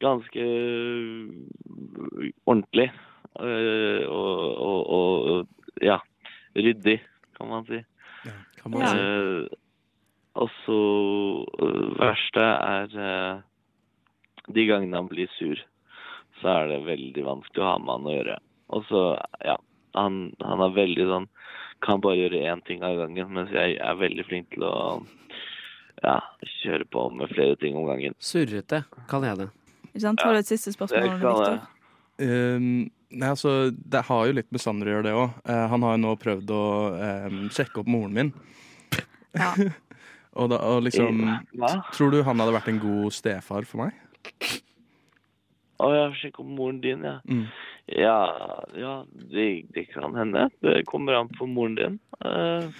Speaker 22: Ganske ordentlig. Eh, og, og, og ja. Ryddig, kan man si. Eh.
Speaker 7: Kan
Speaker 27: man si.
Speaker 22: og så altså, eh, verste er eh, de gangene han blir sur. Så er det veldig vanskelig å ha med han å gjøre. Og så, ja. Han, han er veldig sånn kan bare gjøre én ting av gangen, mens jeg er veldig flink til å ja, kjøre på med flere ting om gangen.
Speaker 7: Surrete, kaller jeg det.
Speaker 1: Ikke sant? Har du et siste spørsmål, Victor?
Speaker 14: Ehm, nei, altså, det har jo litt med Sander å gjøre, det òg. han har jo nå prøvd å ehm, sjekke opp moren min. og, da, og liksom
Speaker 22: Hva?
Speaker 14: Tror du han hadde vært en god stefar for meg?
Speaker 22: Å, jeg får sjekke om moren din, ja.
Speaker 14: Mm.
Speaker 22: Ja, ja det, det kan hende. Det kommer an på moren din. Eh,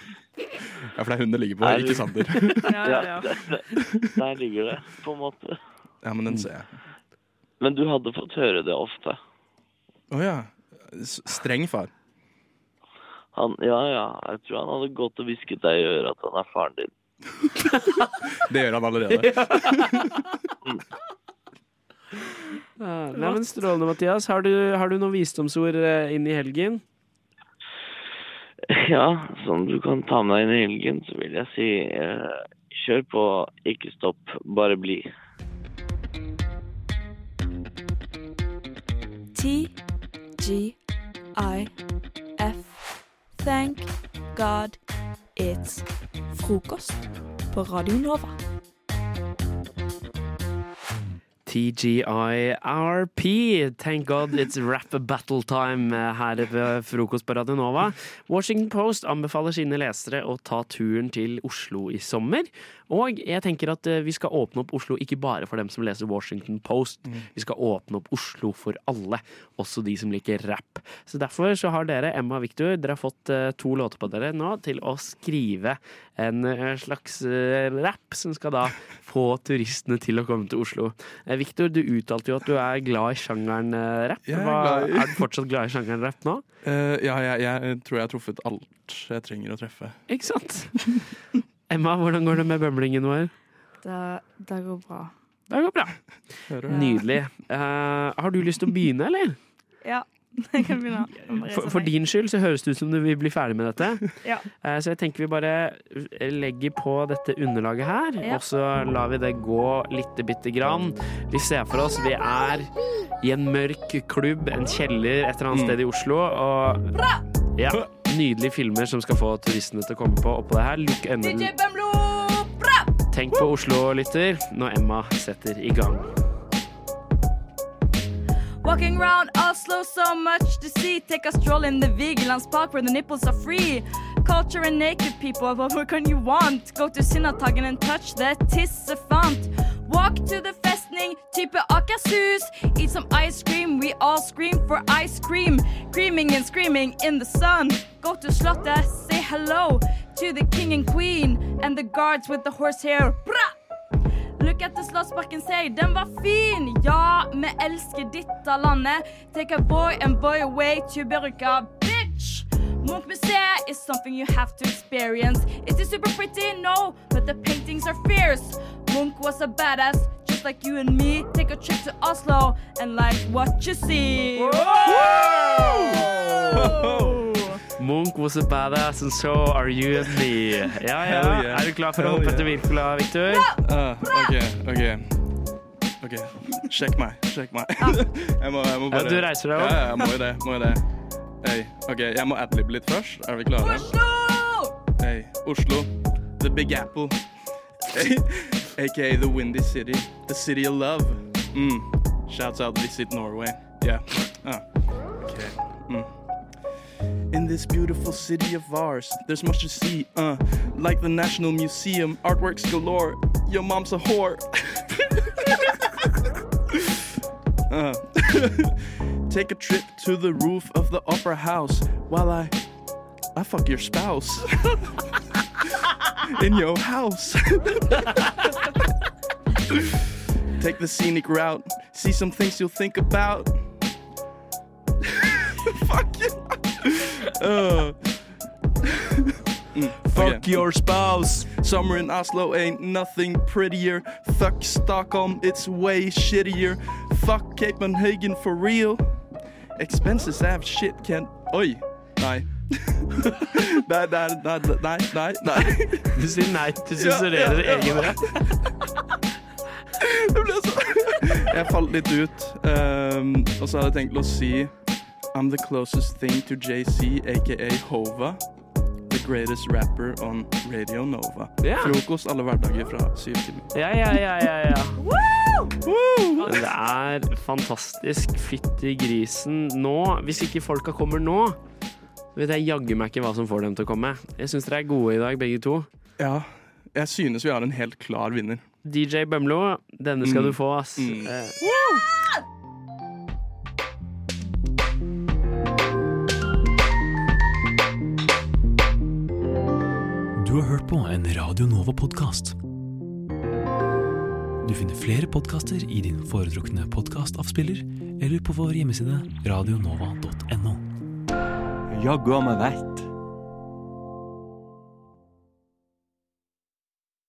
Speaker 14: Ja, for det er hun det ligger på,
Speaker 22: Er-
Speaker 14: ikke Sander.
Speaker 22: ja, Der, der- der ligger det, på en måte.
Speaker 14: ja, men den ser jeg.
Speaker 22: Men du hadde fått høre det ofte.
Speaker 14: Å ja. S- Streng far.
Speaker 22: Han, ja, ja, jeg tror han hadde gått og hvisket deg i øret at han er faren din.
Speaker 14: Det gjør han allerede.
Speaker 7: Ja, Nei, men Strålende, Mathias. Har du, har du noen visdomsord eh, inn i helgen?
Speaker 22: Ja, som du kan ta med deg inn i helgen, så vil jeg si eh, kjør på, ikke stopp, bare bli.
Speaker 1: TGIF. Thank God it's frokost på Radio Nova.
Speaker 7: TGIRP. Thank God it's rap battle time eh, her ved frokost på Radio Nova. Washington Post anbefaler sine lesere å ta turen til Oslo i sommer. Og jeg tenker at eh, vi skal åpne opp Oslo ikke bare for dem som leser Washington Post. Vi skal åpne opp Oslo for alle, også de som liker rap. Så derfor så har dere, Emma og Victor, dere har fått eh, to låter på dere nå til å skrive en eh, slags eh, rap som skal da få turistene til å komme til Oslo. Eh, Victor, du uttalte jo at du er glad i sjangeren eh, rap.
Speaker 14: Jeg er
Speaker 7: Hva,
Speaker 14: glad i-
Speaker 7: er du fortsatt glad i sjangeren rap nå?
Speaker 14: Eh, ja, jeg, jeg tror jeg har truffet alt jeg trenger å treffe.
Speaker 7: Ikke sant? Emma, hvordan går det med bømlingen vår?
Speaker 1: Det, det går bra.
Speaker 7: Det går bra. Nydelig. Eh, har du lyst til å begynne, eller?
Speaker 1: Ja, jeg kan begynne. Jeg må reise
Speaker 7: For, for
Speaker 1: meg.
Speaker 7: din skyld så høres det ut som du vil bli ferdig med dette.
Speaker 1: Ja.
Speaker 7: Eh, Så jeg tenker vi bare legger på dette underlaget her,
Speaker 1: Ja.
Speaker 7: og så lar vi det gå lite bitte grann. Vi ser for oss vi er i en mørk klubb, en kjeller et
Speaker 14: Mm.
Speaker 7: eller annet sted i Oslo, og ja, nydelige filmer som skal få turistene til å komme på oppå det her. Lukk øynene. Tenk på Oslo, lytter, når Emma setter i gang.
Speaker 1: Walking around Oslo, so much to see. Take a stroll in the Vigelands Park where the nipples are free. Culture and naked people, what more can you want? Go to Sinnataggen and touch their tissefant. Walk to the festning, type Akershus. Eat some ice cream, we all scream for ice cream. Creaming and screaming in the sun. Go to Slottet, say hello to the king and queen and the guards with the horsehair. Bra! Look
Speaker 11: Slik etter Slottsparken sier den var fin. Ja, vi elsker dette landet. Take a boy and boy away to Berga, bitch. Munch-museet is something you have to experience. Is it super pretty? No, but the paintings are fierce. Munch was a badass, just like you and me. Take a trip to Oslo and like what you see.
Speaker 7: Munch was a badass, and so are you and me. Ja, ja.
Speaker 14: Hell yeah.
Speaker 7: Er du klar for å
Speaker 14: Hell
Speaker 7: hoppe
Speaker 14: yeah.
Speaker 7: etter Wirkola, Victor?
Speaker 14: Ah, OK, OK. Ok, Sjekk meg. Sjekk meg. Jeg må, jeg må
Speaker 7: Ja,
Speaker 14: bare
Speaker 7: du reiser deg opp.
Speaker 14: Ja, ja, jeg må jo det. Må jo det. Hey, OK, jeg må adlibbe litt først. Er vi klare? Hey, Oslo. The Big Apple. AKA The Windy City. The City of Love. Mm. Shouts out Visit Norway. Yeah. Ah. Okay. Mm. In this beautiful city of ours, there's much to see, uh, like the National Museum, artworks galore. Your mom's a whore. Uh. Take a trip to the roof of the opera house while I I fuck your spouse in your house. Take the scenic route, see some things you'll think about. fuck you. Uh.
Speaker 7: Mm.
Speaker 14: Fuck your spouse. Summer in Oslo ain't nothing prettier. Fuck Stockholm, it's way shittier. Fuck Copenhagen for real. Expenses have shit can Oi. Nei. nei, nei, nei, nei, nei, nei.
Speaker 7: Du er sier nei til sensurerer egen rett.
Speaker 14: Jeg falt litt ut. Um, og så hadde jeg tenkt å si I'm the closest thing to JC, aka Hova. The greatest rapper on Radio Nova.
Speaker 7: Ja.
Speaker 14: Frokost alle hverdager fra syv timer.
Speaker 7: Ja, ja, ja, ja, ja. Det er fantastisk. Fytti grisen. Nå, hvis ikke folka kommer nå, så vet jeg jaggu meg ikke hva som får dem til å komme. Jeg syns dere er gode i dag, begge to.
Speaker 14: Ja, jeg synes vi har en helt klar vinner.
Speaker 7: DJ Bømlo, denne skal
Speaker 14: Mm.
Speaker 7: du få, ass. Eh,
Speaker 28: Du har hørt på en Radio Nova-podkast. Du finner flere podkaster i din foretrukne podkastavspiller eller på vår hjemmeside radionova.no.
Speaker 6: Jaggu meg vekk.